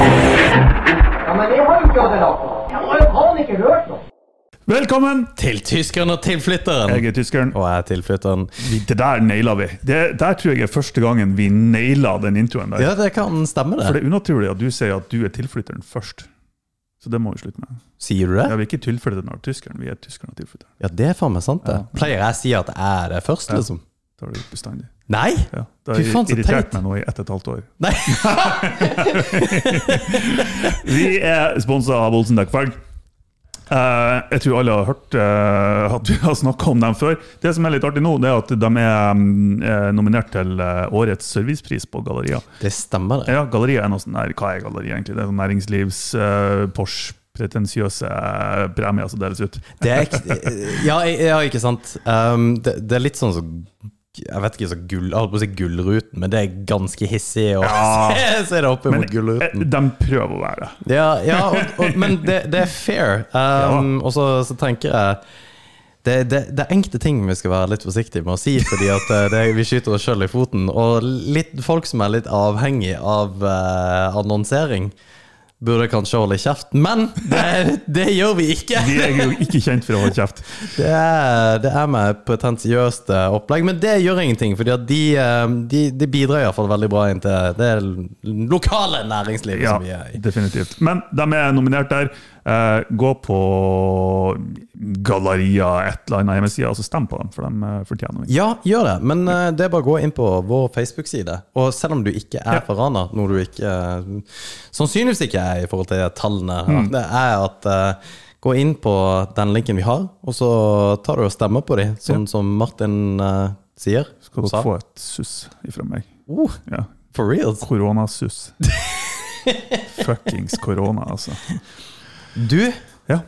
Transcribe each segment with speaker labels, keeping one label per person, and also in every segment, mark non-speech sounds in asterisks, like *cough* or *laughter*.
Speaker 1: Ja, men jeg har jo ikke hatt det nok. Jeg har jo faen ikke hørt noe.
Speaker 2: Velkommen!
Speaker 3: Til tyskeren og tilflytteren!
Speaker 2: Jeg er tyskeren.
Speaker 3: Og jeg er tilflytteren.
Speaker 2: Vi- Det der naila vi. Det der tror jeg er første gangen vi naila den introen der.
Speaker 3: Ja, det kan stemme,
Speaker 2: For
Speaker 3: det.
Speaker 2: det er unaturlig at du sier at du er tilflytteren først. Så det må vi slutte med.
Speaker 3: Sier du det?
Speaker 2: Ja, vi er ikke tilflytteren av tyskeren, vi er tyskeren av tilflytteren.
Speaker 3: Ja, det er faen meg sant, det. Pleier jeg å si at jeg er det først, liksom?
Speaker 2: Da er det bestandig.
Speaker 3: Nei!
Speaker 2: Ja. Det
Speaker 3: Fy faen,
Speaker 2: har
Speaker 3: så
Speaker 2: irritert
Speaker 3: teit.
Speaker 2: meg nå i ett og et halvt år.
Speaker 3: Nei!
Speaker 2: Vi er sponsa av Olsen Dekkfelg. Eh, jeg tror alle har hørt eh, at vi har snakka om dem før. Det som er litt artig nå, det er at de er mm, eh, nominert til eh, årets servicepris på Galleria.
Speaker 3: *laughs* Det stemmer, det.
Speaker 2: Ja, Galleria er noe sånn, nei, hva er Galleria egentlig? Det er sånn næringslivs eh, Porsche pretensiøse eh, premier som deles ut.
Speaker 3: det er, ikk- ja, i- ja, ikke sant. Um, det, det er litt sånn som Jeg vet ikke, så gull, jeg holdt på å si Gullruten, men det er ganske hissig å
Speaker 2: Ja.
Speaker 3: *laughs* se, se det opp
Speaker 2: Men
Speaker 3: mot
Speaker 2: eh,
Speaker 3: Gullruten.
Speaker 2: de prøver å være det.
Speaker 3: Ja, ja og, og, men det, det er fair. Um, Og så, så tenker jeg det, det, det er enkelte ting vi skal være litt forsiktige med å si, fordi at eh, det, vi skyter oss sjøl i foten. Og litt, folk som er litt avhengig av eh, annonsering, burde kanskje holde kjeft. Men det, det gjør vi ikke!
Speaker 2: De er jo ikke kjent for å holde
Speaker 3: *laughs*
Speaker 2: kjeft.
Speaker 3: Det er, det er med pretensiøst eh, opplegg, men det gjør ingenting. For de, eh, de, de bidrar iallfall veldig bra inn til det lokale næringslivet
Speaker 2: Ja,
Speaker 3: som vi er i.
Speaker 2: definitivt. Men de er nominert der. Eh, gå på Galleria, et eller annet hjemmeside, og så stem på dem, for de eh, fortjener det.
Speaker 3: Ja, gjør det, men eh, det er bare å gå inn på vår Facebook-side. Og selv om du ikke er fra Rana, noe du ikke eh, sannsynligvis ikke er i forhold til tallene, her,
Speaker 2: Mm.
Speaker 3: det er at eh, gå inn på den linken vi har, og så tar du og stemmer på dem, sånn som Martin eh, sier.
Speaker 2: Skal dere
Speaker 3: sa.
Speaker 2: få et suss ifra meg?
Speaker 3: Oh,
Speaker 2: Ja.
Speaker 3: for reals. *laughs*
Speaker 2: Koronasuss. Fuckings korona, altså.
Speaker 3: Du
Speaker 2: Ja.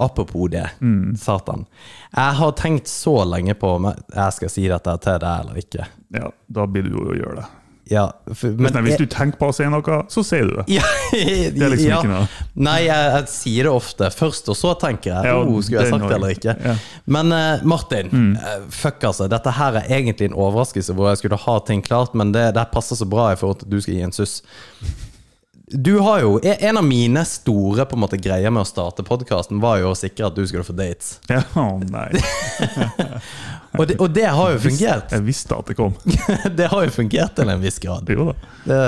Speaker 3: Apropos det,
Speaker 2: Mm.
Speaker 3: satan. Jeg har tenkt så lenge på om jeg- jeg skal si dette til deg eller ikke.
Speaker 2: ja, da blir du jo å gjøre det.
Speaker 3: Ja, for,
Speaker 2: Hvis,
Speaker 3: men
Speaker 2: nei, hvis du tenker på å si noe, så sier du det.
Speaker 3: *laughs* ja, Det
Speaker 2: er liksom ikke noe.
Speaker 3: Nei, jeg, jeg sier det ofte først, og så tenker jeg
Speaker 2: Ja,
Speaker 3: oh, skulle jeg
Speaker 2: den
Speaker 3: sagt det
Speaker 2: også.
Speaker 3: eller ikke?
Speaker 2: Ja. Mm.
Speaker 3: Men eh, Martin, eh, fuck altså. Dette her er egentlig en overraskelse hvor jeg skulle ha ting klart, men det, det her passer så bra i forhold til at du skal gi en suss. Du har jo, e, En av mine store på en måte, greier med å starte podkasten var jo å sikre at du skulle få dates.
Speaker 2: Ja, *laughs* å
Speaker 3: *laughs*
Speaker 2: nei.
Speaker 3: Og det, og det
Speaker 2: *laughs*
Speaker 3: har jo fungert. *laughs*
Speaker 2: Jeg visste at det kom. *laughs*
Speaker 3: Det har jo fungert til en viss grad.
Speaker 2: Jo da.
Speaker 3: Det,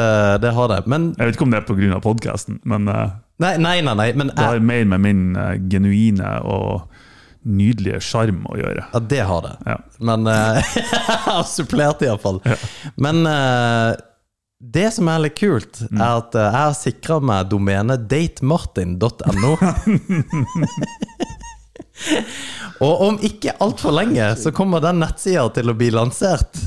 Speaker 3: det har det. Men
Speaker 2: Jeg vet ikke om det er pga. podkasten, men eh,
Speaker 3: Nei, nei, nei. nei men
Speaker 2: det
Speaker 3: jeg,
Speaker 2: har mer med min eh, genuine og nydelige sjarm å gjøre.
Speaker 3: ja, det har det.
Speaker 2: Ja.
Speaker 3: Men eh, *laughs* Jeg har supplert, iallfall. Men eh, det som er litt kult, er at eh, jeg har sikra meg domenet datemartin.no. Og om ikke altfor lenge så kommer den nettsida til å bli lansert.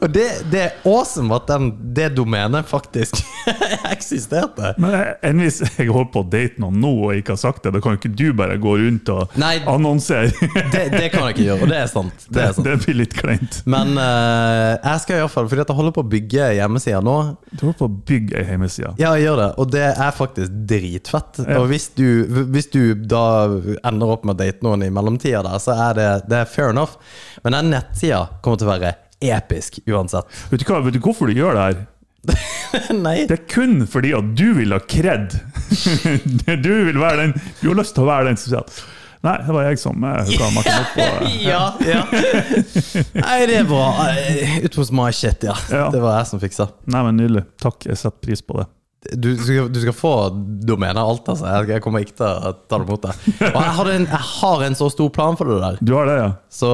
Speaker 3: Og det, det er awesome at den, det domenet faktisk *laughs* eksisterte.
Speaker 2: Men jeg- enn hvis *laughs* jeg holder på å date noen nå og ikke har sagt det, da kan jo ikke du bare gå rundt og
Speaker 3: Nei.
Speaker 2: annonsere.
Speaker 3: Det, det kan jeg ikke gjøre, og det er sant. Det er
Speaker 2: *laughs*
Speaker 3: sant.
Speaker 2: det blir litt kleint.
Speaker 3: Men eh, jeg skal iallfall, fordi at jeg holder på å bygge hjemmesida nå.
Speaker 2: Du holder på å bygge ei hjemmeside.
Speaker 3: Ja, jeg gjør det, og det er faktisk dritfett. Og hvis du, hvis du da ender opp med å date noen i mellomtida der, så er det, det er fair enough. Men den nettsida kommer til å være episk uansett. *laughs*
Speaker 2: Vet, du hva, vet du hvorfor du gjør det her?
Speaker 3: Nei.
Speaker 2: Det er kun fordi at du vil ha kred. *laughs* du vil være den Du har lyst til å være den som sier at Nei, det var jeg som eh, hooka Martin opp på
Speaker 3: *laughs*
Speaker 2: eh."
Speaker 3: ja, ja. Nei, det er bra. Eh, Ut hos my shit, ja.
Speaker 2: Ja.
Speaker 3: Det var jeg som fiksa.
Speaker 2: Nei, men nydelig. Takk, jeg setter pris på det.
Speaker 3: Du, du skal- du skal få domenet og alt, altså. Jeg- Jeg kommer ikke til å ta det mot deg. Og jeg, hadde en, jeg har en så stor plan for det der.
Speaker 2: Du har det, ja?
Speaker 3: Så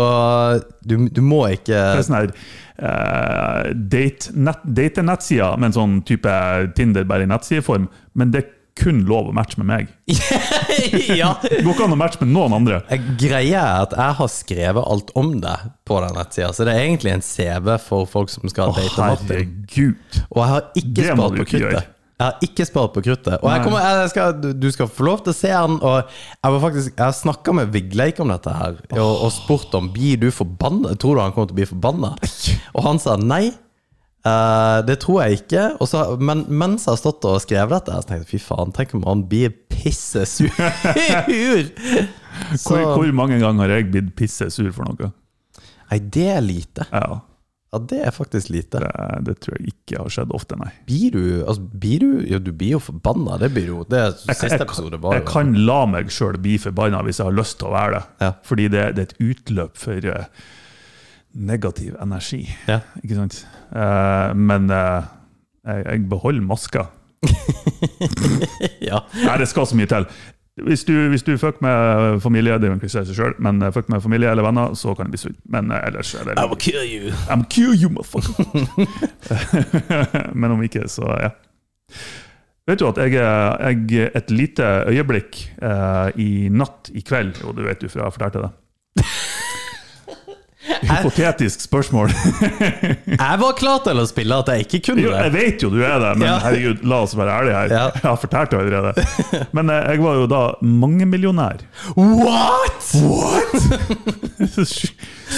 Speaker 3: du, du må ikke
Speaker 2: Det er sånn her eh, date- nett- date-nettsida, med en sånn type Tinder bare i nettsideform. Men det er kun lov å matche med meg.
Speaker 3: ja.
Speaker 2: Det går ikke an å matche med noen andre.
Speaker 3: Greia er at jeg har skrevet alt om deg på den nettsida, så det er egentlig en CV for folk som skal
Speaker 2: Å,
Speaker 3: date Martin.
Speaker 2: herregud.
Speaker 3: Og jeg har ikke
Speaker 2: Det må
Speaker 3: spart
Speaker 2: du
Speaker 3: på
Speaker 2: ikke gjøre.
Speaker 3: kruttet. Jeg har ikke spart på kruttet. Og jeg
Speaker 2: Nei.
Speaker 3: kommer, jeg skal, du- du skal få lov til å se den. Og jeg var faktisk, jeg snakka med Vigleik om dette her, og, og spurt om blir du forbanna. Tror du han kommer til å bli forbanna? Og han sa nei. eh, det tror jeg ikke. Og så, men mens jeg har stått og skrevet dette, her, så tenkte jeg fy faen, tenk om han blir
Speaker 2: *laughs*
Speaker 3: pissesur! så
Speaker 2: Hvor, hvor mange ganger har jeg blitt pissesur for noe?
Speaker 3: Nei, det er lite.
Speaker 2: Ja,
Speaker 3: Ja, det er faktisk lite.
Speaker 2: det, det tror jeg ikke har skjedd ofte, nei.
Speaker 3: Blir du altså, blir du, ja, du blir jo forbanna. Det blir jo det
Speaker 2: Jeg,
Speaker 3: siste episode
Speaker 2: jeg,
Speaker 3: var jo
Speaker 2: jeg kan la meg sjøl bli forbanna hvis jeg har lyst til å være det.
Speaker 3: Ja.
Speaker 2: Fordi det, det er et utløp for eh, negativ energi.
Speaker 3: Ja.
Speaker 2: Ikke sant? Eh, men eh, jeg, jeg beholder maska.
Speaker 3: ja.
Speaker 2: Nei, det skal så mye til. Hvis du, hvis du fucker med familie, det er jo en klisjé i seg sjøl, men eh, fuck med familie eller venner, så kan det bli sunt. Men eh, ellers er det
Speaker 3: kill you.
Speaker 2: I'm kill you, motherfucker! *laughs* men om ikke, så ja. Vet du at jeg, eh, jeg et lite øyeblikk eh, i natt i kveld Jo, det vet du, for jeg har fortalt deg
Speaker 3: *laughs*
Speaker 2: det. Hypotetisk
Speaker 3: *laughs*
Speaker 2: spørsmål.
Speaker 3: Jeg var klar til å spille at jeg ikke
Speaker 2: Jo,
Speaker 3: kunne
Speaker 2: jeg
Speaker 3: det.
Speaker 2: vet jo du er det, men
Speaker 3: Ja.
Speaker 2: herregud, la oss være ærlige her.
Speaker 3: Ja.
Speaker 2: Jeg har fortalt det allerede. Men eh, jeg var jo da mangemillionær.
Speaker 3: What?!
Speaker 2: Sy-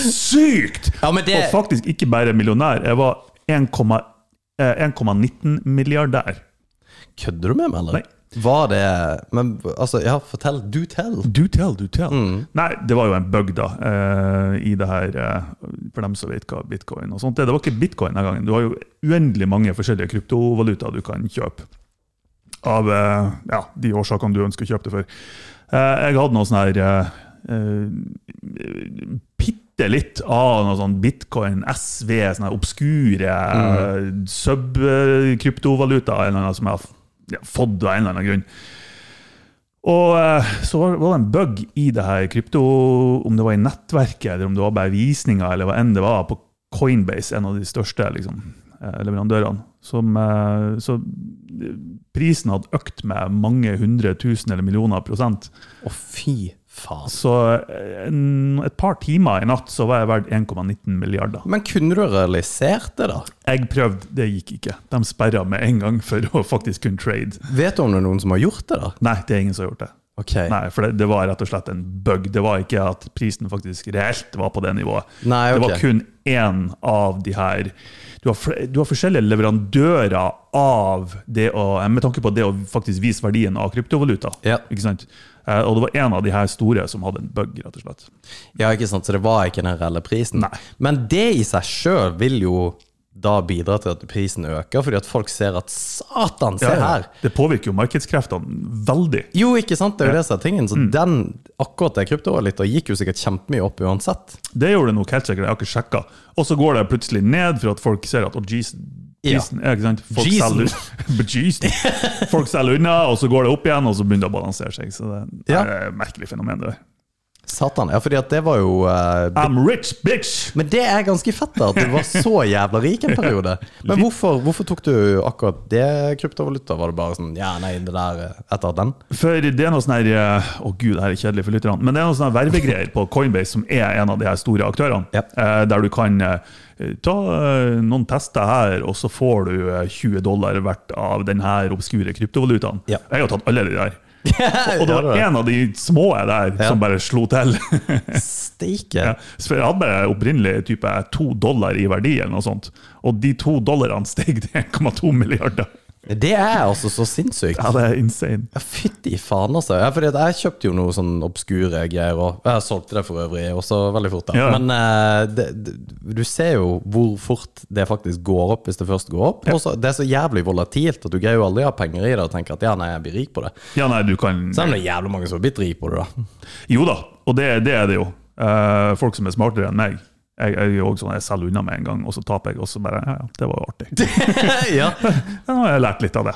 Speaker 2: *laughs* Sykt!
Speaker 3: Ja, men det-
Speaker 2: Og faktisk ikke bare millionær. Jeg var eh, 1,19 milliardær.
Speaker 3: Kødder du med meg, eller?
Speaker 2: Nei.
Speaker 3: Var det Men altså, ja, fortell. Do tell.
Speaker 2: Do tell, do tell. Nei, det var jo en bug, da, eh, i det her eh, For dem som vet hva bitcoin og sånt er. Det var ikke bitcoin den gangen. Du har jo uendelig mange forskjellige kryptovalutaer du kan kjøpe. Av eh, ja, de årsakene du ønsker å kjøpe det for. Eh, jeg hadde noe sånn her eh, eh, Bitte litt av noe sånn bitcoin, SV, sånne her obskure mm. sub-kryptovalutaer eller noe som jeg har f- ja, fått av en eller annen grunn. Og eh, så var var det en bug i det her krypto, om det var i nettverket, eller om det var bare visninger, eller hva enn det var, på Coinbase, en av de største liksom, eh, leverandørene. Som, eh, så eh, prisen hadde økt med mange hundre tusen eller millioner prosent.
Speaker 3: Å, fy faen.
Speaker 2: Så eh, en, et par timer i natt så var jeg verdt 1,19 milliarder.
Speaker 3: Men kunne du realisert det, da?
Speaker 2: Jeg prøvde, det gikk ikke. De sperra med en gang for å faktisk kunne trade.
Speaker 3: Vet du om det er noen som har gjort det, da?
Speaker 2: Nei, det er ingen som har gjort det.
Speaker 3: Ok.
Speaker 2: Nei, for det, det var rett og slett en bug. Det var ikke at prisen faktisk reelt var på det nivået.
Speaker 3: Nei, ok.
Speaker 2: Det var kun én av de her du har, fl- du har forskjellige leverandører av det å Med tanke på det å faktisk vise verdien av kryptovaluta.
Speaker 3: Ja.
Speaker 2: Ikke sant? Eh, Og det var en av de her store som hadde en bug, rett og slett.
Speaker 3: Ja, ikke sant, så det var ikke den reelle prisen.
Speaker 2: Nei.
Speaker 3: Men det i seg sjøl vil jo da bidra til at prisen øker, fordi at folk ser at satan, se
Speaker 2: Ja, ja.
Speaker 3: her!
Speaker 2: Det påvirker jo markedskreftene veldig.
Speaker 3: Jo, ikke sant, det er jo det som er tingen. Så
Speaker 2: Mm.
Speaker 3: den, akkurat det kryptovaluta gikk jo sikkert kjempemye opp uansett.
Speaker 2: Det gjorde det nok helt sikkert, jeg har ikke sjekka. Og så går det plutselig ned for at folk ser at oh, jeez, prisen, ja. ikke sant? Folk,
Speaker 3: Jeez.
Speaker 2: selger, *laughs* Jeez. folk selger unna, og så går det opp igjen, og så begynner det å balansere seg. Så det er
Speaker 3: Ja.
Speaker 2: et merkelig fenomen. det der.
Speaker 3: Satan. Ja, fordi at det var jo eh, bi-
Speaker 2: I'm rich, bitch!
Speaker 3: Men det er ganske fett, da. At du var så jævla rik en periode. Men hvorfor, hvorfor tok du akkurat det kryptovaluta? Var det bare sånn Ja, nei, det der eh, etter den?
Speaker 2: For det er noe sånn her eh, Å gud, det her er kjedelig for lytterne. Men det er noe sånn her vervegreier på Coinbase, som er en av de her store aktørene.
Speaker 3: Ja.
Speaker 2: eh, Der du kan eh, ta eh, noen tester her, og så får du eh, 20 dollar hvert av den her obskure kryptovalutaen.
Speaker 3: Ja.
Speaker 2: Jeg har tatt alle de der. Og det
Speaker 3: Ja,
Speaker 2: var en av de små der
Speaker 3: Ja.
Speaker 2: som bare slo *laughs* til.
Speaker 3: Steike.
Speaker 2: Ja, så jeg hadde bare opprinnelig type to dollar i verdi, eller noe sånt. Og de to dollarene steg til 1,2 milliarder.
Speaker 3: Det er altså så sinnssykt.
Speaker 2: Ja, det er insane.
Speaker 3: Ja, Fytti faen, altså. Ja, fordi at jeg kjøpte jo noe sånn obskure greier, og jeg solgte det for øvrig også veldig fort. da.
Speaker 2: Ja.
Speaker 3: Men eh, det, det, du ser jo hvor fort det faktisk går opp, hvis det først går opp. Og så, det er så jævlig volatilt at du greier jo aldri å ha penger i det og tenker at ja, nei, jeg blir rik på det.
Speaker 2: Ja, nei, du kan
Speaker 3: Selv om det er jævlig mange som har blitt rik på det, da.
Speaker 2: Jo da, og det, det er det jo. Eh, folk som er smartere enn meg. Jeg, jeg er jo også sånn, jeg selger unna med en gang, og så taper jeg, og så bare Ja, ja, det Mm. var jo artig.
Speaker 3: ja.
Speaker 2: Nå har jeg lært litt av det.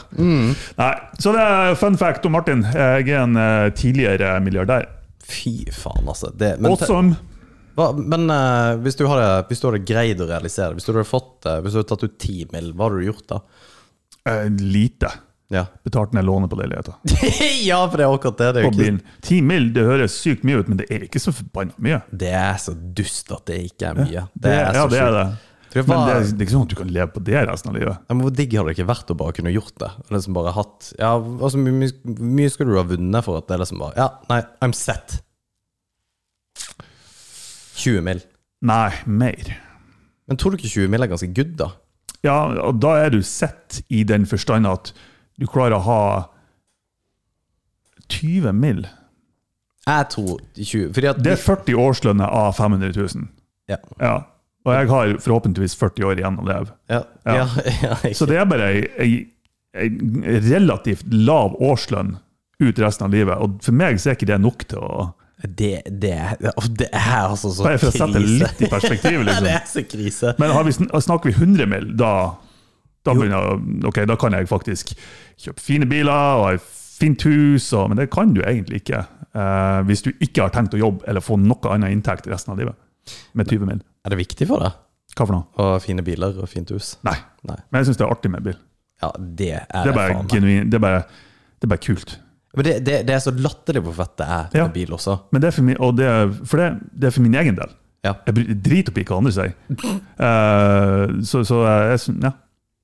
Speaker 2: Nei, så det er fun fact om Martin. Jeg er en eh, tidligere milliardær.
Speaker 3: Fy faen, altså. Det, men te-
Speaker 2: Awesome!
Speaker 3: hva, men eh, hvis, du hadde, hvis du hadde greid eh, å realisere det, hvis du hadde fått det, hvis du hadde tatt ut 10 mill., hva hadde du gjort da?
Speaker 2: Eh, lite.
Speaker 3: Ja.
Speaker 2: Betalt ned lånet på leiligheten.
Speaker 3: *laughs* ja, for det er akkurat det. Det er,
Speaker 2: På
Speaker 3: jo ikke,
Speaker 2: bilen. Ti mil, det høres sykt mye ut, men det er ikke så forbanna mye.
Speaker 3: det er så dust at det ikke er mye.
Speaker 2: Det er, ja,
Speaker 3: så
Speaker 2: det er det.
Speaker 3: Tror jeg
Speaker 2: Men det
Speaker 3: bare-
Speaker 2: er, det er ikke sånn at du kan leve på det resten av livet.
Speaker 3: Ja, men Hvor digg hadde det ikke vært å bare kunne gjort det? Og liksom bare hatt, ja, altså, Hvor mye, mye skulle du ha vunnet for at det er liksom bare Ja, nei, I'm set. 20 mil.
Speaker 2: Nei, mer.
Speaker 3: Men tror du ikke 20 mil er ganske good, da?
Speaker 2: Ja, og da er du sett i den forstand at du klarer å ha 20 mil.
Speaker 3: Jeg tror 20 Fordi at
Speaker 2: Det er 40 årslønner av 500 000.
Speaker 3: Ja.
Speaker 2: Ja. Og jeg har forhåpentligvis 40 år igjen å leve.
Speaker 3: Ja, ja, *laughs* ja, ikke-
Speaker 2: Så det er bare ei, ei, ei relativt lav årslønn ut resten av livet. Og for meg så er ikke det nok til å
Speaker 3: det, det, er- å, det er altså så
Speaker 2: Bare for å sette det
Speaker 3: krise.
Speaker 2: litt i perspektiv, liksom.
Speaker 3: *laughs* det er så krise.
Speaker 2: Men har vi, sn- snakker vi 100 mil, da, da, begynner, jeg- ok, da kan jeg faktisk kjøpe fine biler og et fint hus, og, men det kan du egentlig ikke eh, hvis du ikke har tenkt å jobbe eller få noe annen inntekt resten av livet. Med 20 mil.
Speaker 3: Er det viktig for deg?
Speaker 2: Hva for noe?
Speaker 3: Og fine biler og fint hus?
Speaker 2: Nei.
Speaker 3: Nei.
Speaker 2: Men jeg syns det er artig med bil.
Speaker 3: Ja, det er
Speaker 2: Det
Speaker 3: det
Speaker 2: er bare,
Speaker 3: faen meg.
Speaker 2: genuin, det er bare, det er bare kult.
Speaker 3: Men det, det, det er så latterlig hvor fett det er med
Speaker 2: Ja.
Speaker 3: bil også.
Speaker 2: Men det er for, min, og det, er- for det, det er for min egen del.
Speaker 3: Ja.
Speaker 2: Jeg bry- driter opp i hva andre
Speaker 3: *laughs*
Speaker 2: sier. Eh, så, så jeg syns Ja,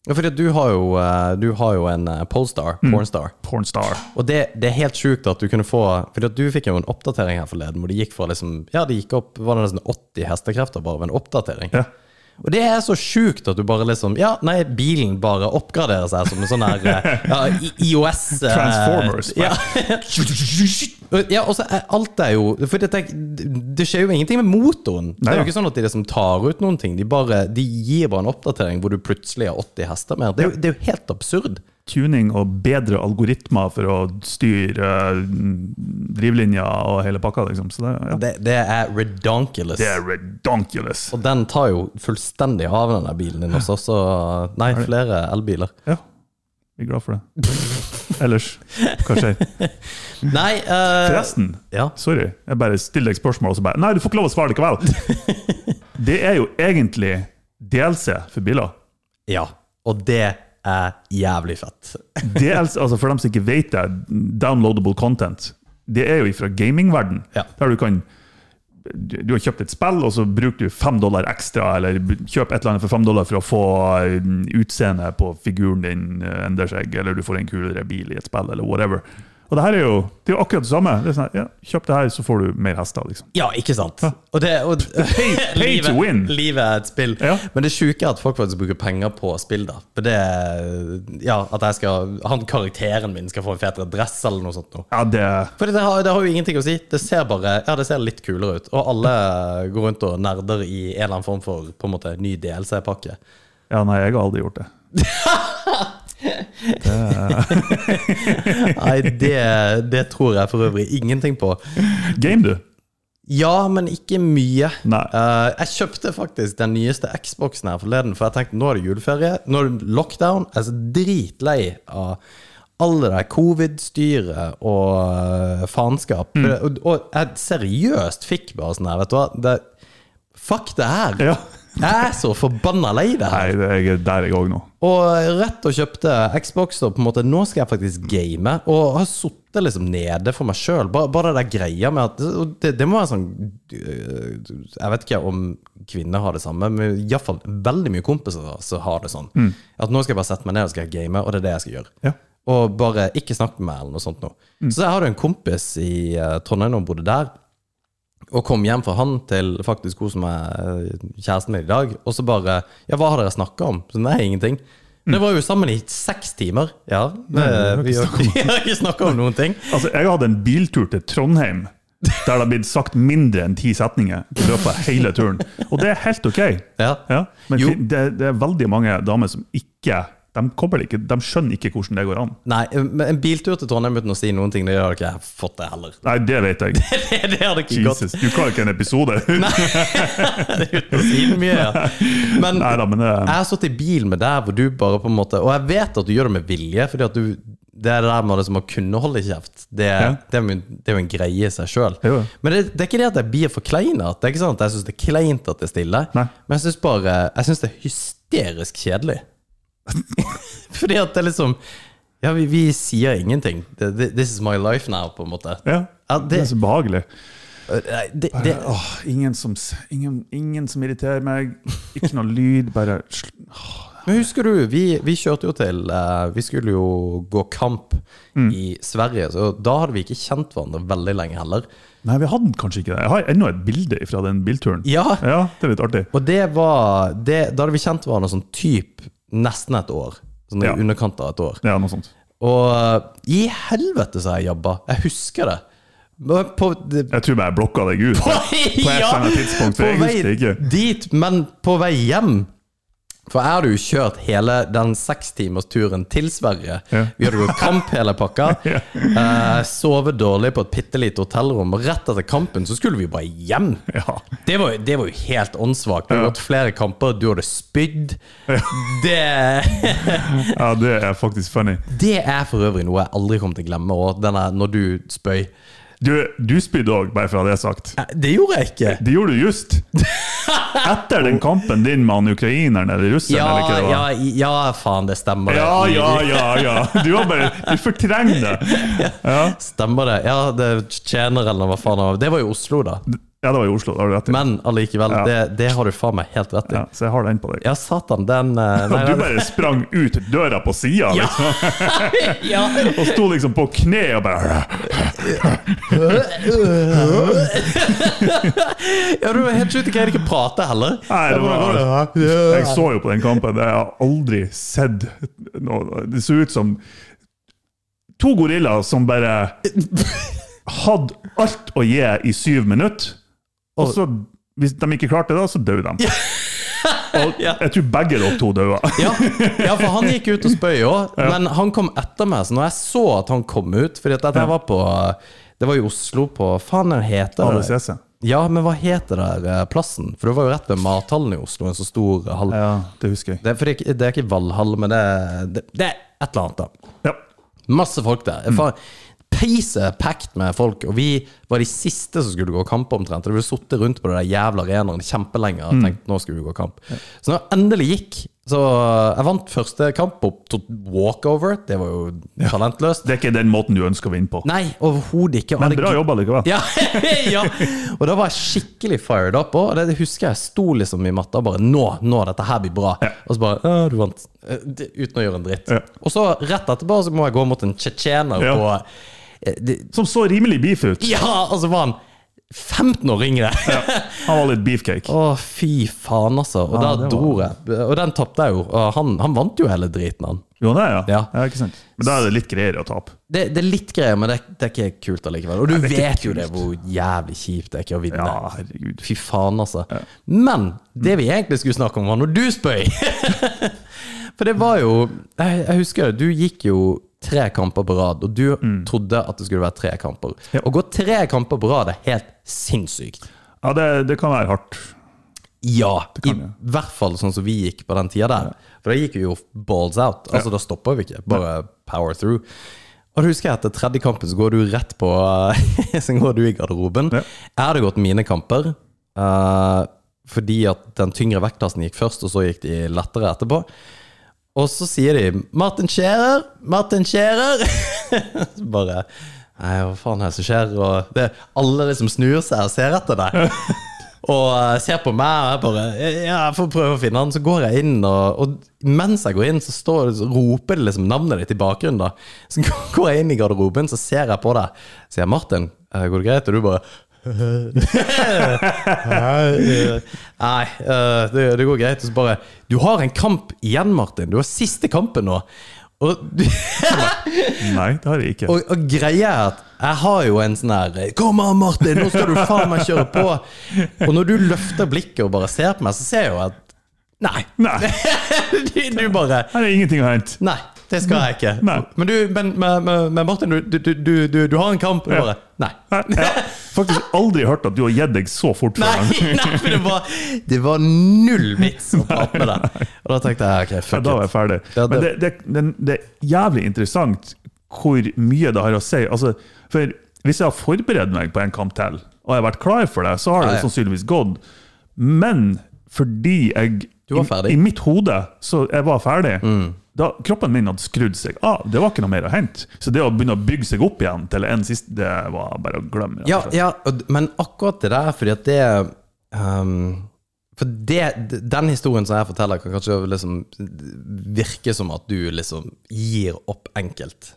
Speaker 3: Ja, fordi at du har jo, eh, du har jo en eh, Polestar,
Speaker 2: Mm.
Speaker 3: pornstar.
Speaker 2: pornstar.
Speaker 3: Og det, det er helt sjukt at du kunne få Fordi at du fikk jo en oppdatering her forleden, hvor det gikk fra liksom Ja, det gikk opp var det nesten 80 hestekrefter bare ved en oppdatering.
Speaker 2: Ja.
Speaker 3: Og det er så sjukt at du bare liksom Ja, nei, bilen bare oppgraderer seg som en sånn her eh, ja, I- IOS eh,
Speaker 2: Transformers.
Speaker 3: Ja. *laughs* ja, og så er alt er jo For det, det skjer jo ingenting med motoren. Det
Speaker 2: Nei, ja.
Speaker 3: er jo ikke sånn at de liksom tar ut noen ting. De, bare, de gir bare en oppdatering hvor du plutselig har 80 hester mer. Det er jo, det er jo helt absurd.
Speaker 2: tuning og bedre algoritmer for å styre eh, drivlinja og hele pakka, liksom. Så det, ja.
Speaker 3: Det, det er redonkulous.
Speaker 2: det er redonkulous.
Speaker 3: Og den tar jo fullstendig av den der bilen din også, så Nei, flere elbiler.
Speaker 2: Ja. Vi er glad for det. Ellers, hva skjer?
Speaker 3: Nei eh,
Speaker 2: Forresten,
Speaker 3: Ja.
Speaker 2: sorry, jeg bare stiller deg spørsmål, og så bare Nei, du får ikke lov å svare likevel! Det er jo egentlig DLC for biler.
Speaker 3: ja. Og det er jævlig fett.
Speaker 2: DLC, altså For dem som ikke vet det, downloadable content, det er jo fra gamingverden,
Speaker 3: Ja.
Speaker 2: der du kan du du har kjøpt et spill, og så bruker du fem dollar ekstra, eller b- kjøper et eller annet for fem dollar for å få eh, utseendet på figuren din eh, endrer seg, eller du får en kulere bil i et spill, eller whatever. Og det her er jo, det er jo akkurat det samme. Det er sånn, her, ja, kjøp det her, så får du mer hester, liksom.
Speaker 3: Ja, ikke sant? Og det, og,
Speaker 2: Pay- pay to
Speaker 3: *laughs* livet,
Speaker 2: win.
Speaker 3: livet er et spill.
Speaker 2: Ja.
Speaker 3: Men det sjuke er at folk faktisk bruker penger på spill. da For det Ja, At jeg skal, han karakteren min skal få en fetere dress eller noe sånt. Nå.
Speaker 2: Ja, det
Speaker 3: For det har, det har jo ingenting å si. Det ser bare Ja, det ser litt kulere ut. Og alle går rundt og nerder i en eller annen form for på en måte ny DLC-pakke.
Speaker 2: Ja, nei, jeg har aldri gjort det.
Speaker 3: Nei, det, det tror jeg for øvrig ingenting på.
Speaker 2: Game, du?
Speaker 3: Ja, men ikke mye.
Speaker 2: Nei.
Speaker 3: Eh, jeg kjøpte faktisk den nyeste Xboxen her forleden, for jeg tenkte nå er det juleferie, nå er det lockdown. Jeg er så dritlei av alle det der covid-styret og eh, faenskap.
Speaker 2: Mm.
Speaker 3: Og, og jeg seriøst fikk bare sånn her, vet du hva det, Fuck det her!
Speaker 2: Ja.
Speaker 3: Jeg er så forbanna lei det
Speaker 2: Nei,
Speaker 3: her.
Speaker 2: det, jeg er der jeg òg nå.
Speaker 3: Og rett og kjøpte Xbox, og på en måte, nå skal jeg faktisk game. Og har sittet liksom nede for meg sjøl. Bare, bare det der greia med at og det, det må være sånn øh, Jeg vet ikke om kvinner har det samme, men iallfall veldig mye kompiser som har det sånn. At nå skal jeg bare sette meg ned og skal jeg game, og det er det jeg skal gjøre.
Speaker 2: Ja.
Speaker 3: Og bare ikke snakke med meg eller noe sånt nå. Så jeg hadde en kompis i eh, Trondheim og bodde der. Og kom hjem fra han til faktisk hun som er eh, kjæresten min i dag, og så bare Ja, hva har dere snakka om? Så nei, ingenting. Det var jo sammen i seks timer. Ja, det, vi, har, *laughs* vi har ikke snakka om noen ting.
Speaker 2: Altså, Jeg hadde en biltur til Trondheim der det har blitt sagt mindre enn ti setninger i løpet av hele turen. Og det er helt ok.
Speaker 3: Ja.
Speaker 2: Men
Speaker 3: Jo.
Speaker 2: det, det er veldig mange damer som ikke de, kobler ikke de skjønner ikke hvordan det går an.
Speaker 3: Nei, men en biltur til Trondheim uten å si noen ting, det har ikke jeg fått det heller. *laughs*
Speaker 2: Nei, det vet jeg.
Speaker 3: Det, det har det ikke gått.
Speaker 2: Jesus, Du klarer ikke en
Speaker 3: *laughs*
Speaker 2: episode uten
Speaker 3: Uten å si mye, ja. *laughs* Men,
Speaker 2: Nei da, men det
Speaker 3: Jeg har stått i bil med deg hvor du bare på en måte Og jeg vet at du gjør det med vilje, fordi at du det er det der med liksom å kunne holde kjeft. Det,
Speaker 2: Ja.
Speaker 3: det, er, jo en- det er jo en greie i seg sjøl.
Speaker 2: Jo, jo.
Speaker 3: Men det, det er ikke det at jeg blir forkleinet. Det er ikke sånn at jeg syns det er kleint at det er stille.
Speaker 2: Nei.
Speaker 3: Men jeg syns *laughs* bare Jeg synes det er hysterisk kjedelig. fordi at det er liksom Ja, vi, vi sier ingenting. Det- det- This is my life now, på en måte.
Speaker 2: Ja.
Speaker 3: Ja,
Speaker 2: det... er så behagelig.
Speaker 3: Nei, det, det,
Speaker 2: Åh, ingen, som, s- ingen, ingen som irriterer meg. Ikke noe lyd, bare sl-
Speaker 3: Men husker du, vi, vi kjørte jo til eh, Vi skulle jo gå kamp i Sverige, så da hadde vi ikke kjent hverandre veldig lenge heller.
Speaker 2: Nei, vi hadde kanskje ikke det. Jeg har ennå et bilde fra den bilturen.
Speaker 3: Ja.
Speaker 2: Det er litt artig.
Speaker 3: Og det var det, Da hadde vi kjent hverandre sånn typ nesten et år. Sånn i
Speaker 2: Ja.
Speaker 3: underkant av et år.
Speaker 2: Ja, noe sånt.
Speaker 3: Og eh, i helvete, sa jeg jabba. Jeg husker det. Men På, det
Speaker 2: Jeg tror bare jeg blokka deg
Speaker 3: *laughs*
Speaker 2: ut. *laughs* På et eller annet tidspunkt, for
Speaker 3: på
Speaker 2: jeg husker
Speaker 3: vei
Speaker 2: ikke.
Speaker 3: dit, men på vei hjem. For jeg hadde jo kjørt hele den sekstimers turen til Sverige.
Speaker 2: Ja.
Speaker 3: Vi hadde gått kamp hele pakka.
Speaker 2: *laughs* Ja.
Speaker 3: Eh, sovet dårlig på et bitte lite hotellrom. Og rett etter kampen så skulle vi bare hjem.
Speaker 2: Ja.
Speaker 3: Det var, jo- det var jo helt åndssvakt. Vi hadde gått flere kamper, du hadde spydd. Det, *laughs*
Speaker 2: ja, det er faktisk funny.
Speaker 3: det er for øvrig noe jeg aldri kommer til å glemme. Og denne, når du spøy.
Speaker 2: Du, du spydde òg, bare for å ha det sagt.
Speaker 3: Eh, Det gjorde jeg ikke.
Speaker 2: Det gjorde du just! Etter den kampen din med han ukraineren eller russeren,
Speaker 3: Ja,
Speaker 2: eller hva det var.
Speaker 3: ja, ja, faen, det stemmer.
Speaker 2: Ja, ja, ja, ja. Du har bare Du fortrenger det. Ja.
Speaker 3: Stemmer det. Ja, det tjener eller hva faen det var. Det var jo Oslo, da.
Speaker 2: ja, det var i Oslo. Da har du rett. i.
Speaker 3: Men allikevel,
Speaker 2: Ja.
Speaker 3: det, det har du faen meg helt rett i.
Speaker 2: Ja,
Speaker 3: Ja,
Speaker 2: så jeg har den på deg.
Speaker 3: satan, den eh, nei,
Speaker 2: Og du
Speaker 3: den-
Speaker 2: bare sprang ut døra på sida liksom,
Speaker 3: ja.
Speaker 2: og sto liksom på kne og bare
Speaker 3: ja, du var helt sjukt. Jeg greide ikke å prate heller.
Speaker 2: Nei, det var Jeg
Speaker 3: Jeg
Speaker 2: så jo på den kampen, jeg har aldri sett noe Det så ut som to gorillaer som bare hadde alt å gi i syv minutter, og så hvis de ikke klarte det, så døde *laughs* de. Og jeg tror begge dere to døde.
Speaker 3: Ja, ja, for han gikk ut og spøy òg, men han kom etter meg. Så når jeg så at han kom ut Fordi at dette
Speaker 2: Ja.
Speaker 3: var på Det var i Oslo, på Faen, den heter det?
Speaker 2: ADCC.
Speaker 3: Ja, men hva heter der eh, plassen? For det var jo rett ved mathallen i Oslo, en så stor hall.
Speaker 2: Ja, det husker jeg.
Speaker 3: Det, er, for det, er ikke- det er ikke Valhall, men det, er- det, det er et eller annet, da.
Speaker 2: Ja.
Speaker 3: Masse folk der.
Speaker 2: Mm.
Speaker 3: Faen, Peiset er packed med folk, og vi var de siste som skulle gå kamp omtrent. Og Vi sittet rundt på den der jævla arenaen kjempelenge
Speaker 2: Mm.
Speaker 3: og tenkt nå skulle vi gå kamp. Så når jeg endelig gikk, så eh, Jeg vant første kamp på to- walkover. Det var jo talentløst.
Speaker 2: Det er ikke den måten du ønsker å vinne på.
Speaker 3: Nei, overhodet ikke. Og
Speaker 2: Men
Speaker 3: hadde
Speaker 2: bra
Speaker 3: gl-
Speaker 2: jobba likevel.
Speaker 3: ja, *laughs* ja. Og da var jeg skikkelig fired up. Og det husker jeg sto liksom i matta og bare Nå, nå, dette her blir bra. Og så bare «Å, Du vant. Eh, det- Uten å gjøre en dritt.
Speaker 2: Ja.
Speaker 3: Og så rett etterpå så må jeg gå mot en tsjetsjener
Speaker 2: Ja.
Speaker 3: på eh, det-
Speaker 2: Som så rimelig beef ut.
Speaker 3: Ja, og så var han 15 år yngre!
Speaker 2: Han var litt beefcake.
Speaker 3: Å, fy faen, altså. Og
Speaker 2: Ja,
Speaker 3: da
Speaker 2: det var-
Speaker 3: dro jeg. Og den tapte jeg jo. Og han, han vant jo hele driten, han.
Speaker 2: Jo, det er, ja.
Speaker 3: Ja.
Speaker 2: ja. Ikke sant? Men da er det litt greiere å tape.
Speaker 3: Det, det er litt greier, men det, det er ikke kult allikevel. Og du
Speaker 2: det er ikke
Speaker 3: vet jo det
Speaker 2: kult.
Speaker 3: hvor jævlig kjipt det er ikke å vinne.
Speaker 2: Ja, herregud.
Speaker 3: Fy faen, altså. Men det vi egentlig skulle snakke om, var når du spøy! *laughs* For det var jo Jeg, jeg husker det, du gikk jo tre kamper på rad, og du trodde at det skulle være tre kamper. Å gå tre kamper på rad er helt sinnssykt.
Speaker 2: Ja, det, det kan være hardt.
Speaker 3: Ja, i hvert fall sånn som vi gikk på den tida der. For da gikk vi jo balls out. Altså, da stopper vi ikke. Bare power through. Og du husker jeg etter tredje kampen så går du rett på *laughs* Så går du i garderoben.
Speaker 2: Ja.
Speaker 3: Jeg hadde gått mine kamper eh, fordi at den tyngre vektklassen gikk først, og så gikk de lettere etterpå. Og så sier de 'Martin Scherer, Martin Scherer'. *laughs* Så bare Nei, hva faen er det som skjer? Og det, alle liksom snur seg og ser etter deg. Og eh, ser på meg, og jeg bare Ja, jeg får prøve å finne han. Så går jeg inn, og, og mens jeg går inn, så, står, det- så roper det liksom navnet ditt i bakgrunnen. da Så *laughs* går jeg inn i garderoben, så ser jeg på deg. Så sier jeg 'Martin, eh, går det greit?' Og du bare *laughs* Nei, eh, det, det går greit. Og så bare Du har en kamp igjen, Martin. Du har siste kampen nå. Og du *laughs*
Speaker 2: Nei, det har jeg ikke.
Speaker 3: og, og greia er at jeg har jo en sånn her Kom an, Martin, nå skal du faen meg kjøre på! Og når du løfter blikket og bare ser på meg, så ser jeg jo at Nei.
Speaker 2: Nei,
Speaker 3: *laughs* Du, du bare
Speaker 2: her er ingenting å hente.
Speaker 3: Nei, det skal jeg ikke.
Speaker 2: Nei.
Speaker 3: Men du, men, men, men- men Martin, du, du, du, du, du har en kamp. Og
Speaker 2: Ja.
Speaker 3: bare Nei.
Speaker 2: Nei, Jeg har faktisk aldri hørt at du har gitt deg så fort. for
Speaker 3: Nei,
Speaker 2: den.
Speaker 3: *laughs* nei for det var, det var null vits å prate med deg. Og da tenkte jeg ok,
Speaker 2: Ja,
Speaker 3: fuck
Speaker 2: da var
Speaker 3: it.
Speaker 2: jeg ferdig.
Speaker 3: Ja, det-
Speaker 2: Men det, det, den, det er jævlig interessant hvor mye det har å si. Altså, for hvis jeg har forberedt meg på en kamp til, og jeg har vært klar for det, så har det
Speaker 3: Ja, ja.
Speaker 2: sannsynligvis gått. Men fordi jeg
Speaker 3: Du var ferdig. Mm.
Speaker 2: I, I mitt hode så jeg var ferdig, da kroppen min hadde skrudd seg av. Det var ikke noe mer å hente. Så det å begynne å bygge seg opp igjen til en siste, det var bare å glemme. rett og
Speaker 3: Ja,
Speaker 2: slett.
Speaker 3: ja, og d- men akkurat det der, fordi at det ehm, For det, d- den historien som jeg forteller, kan kanskje liksom virke som at du liksom gir opp enkelt.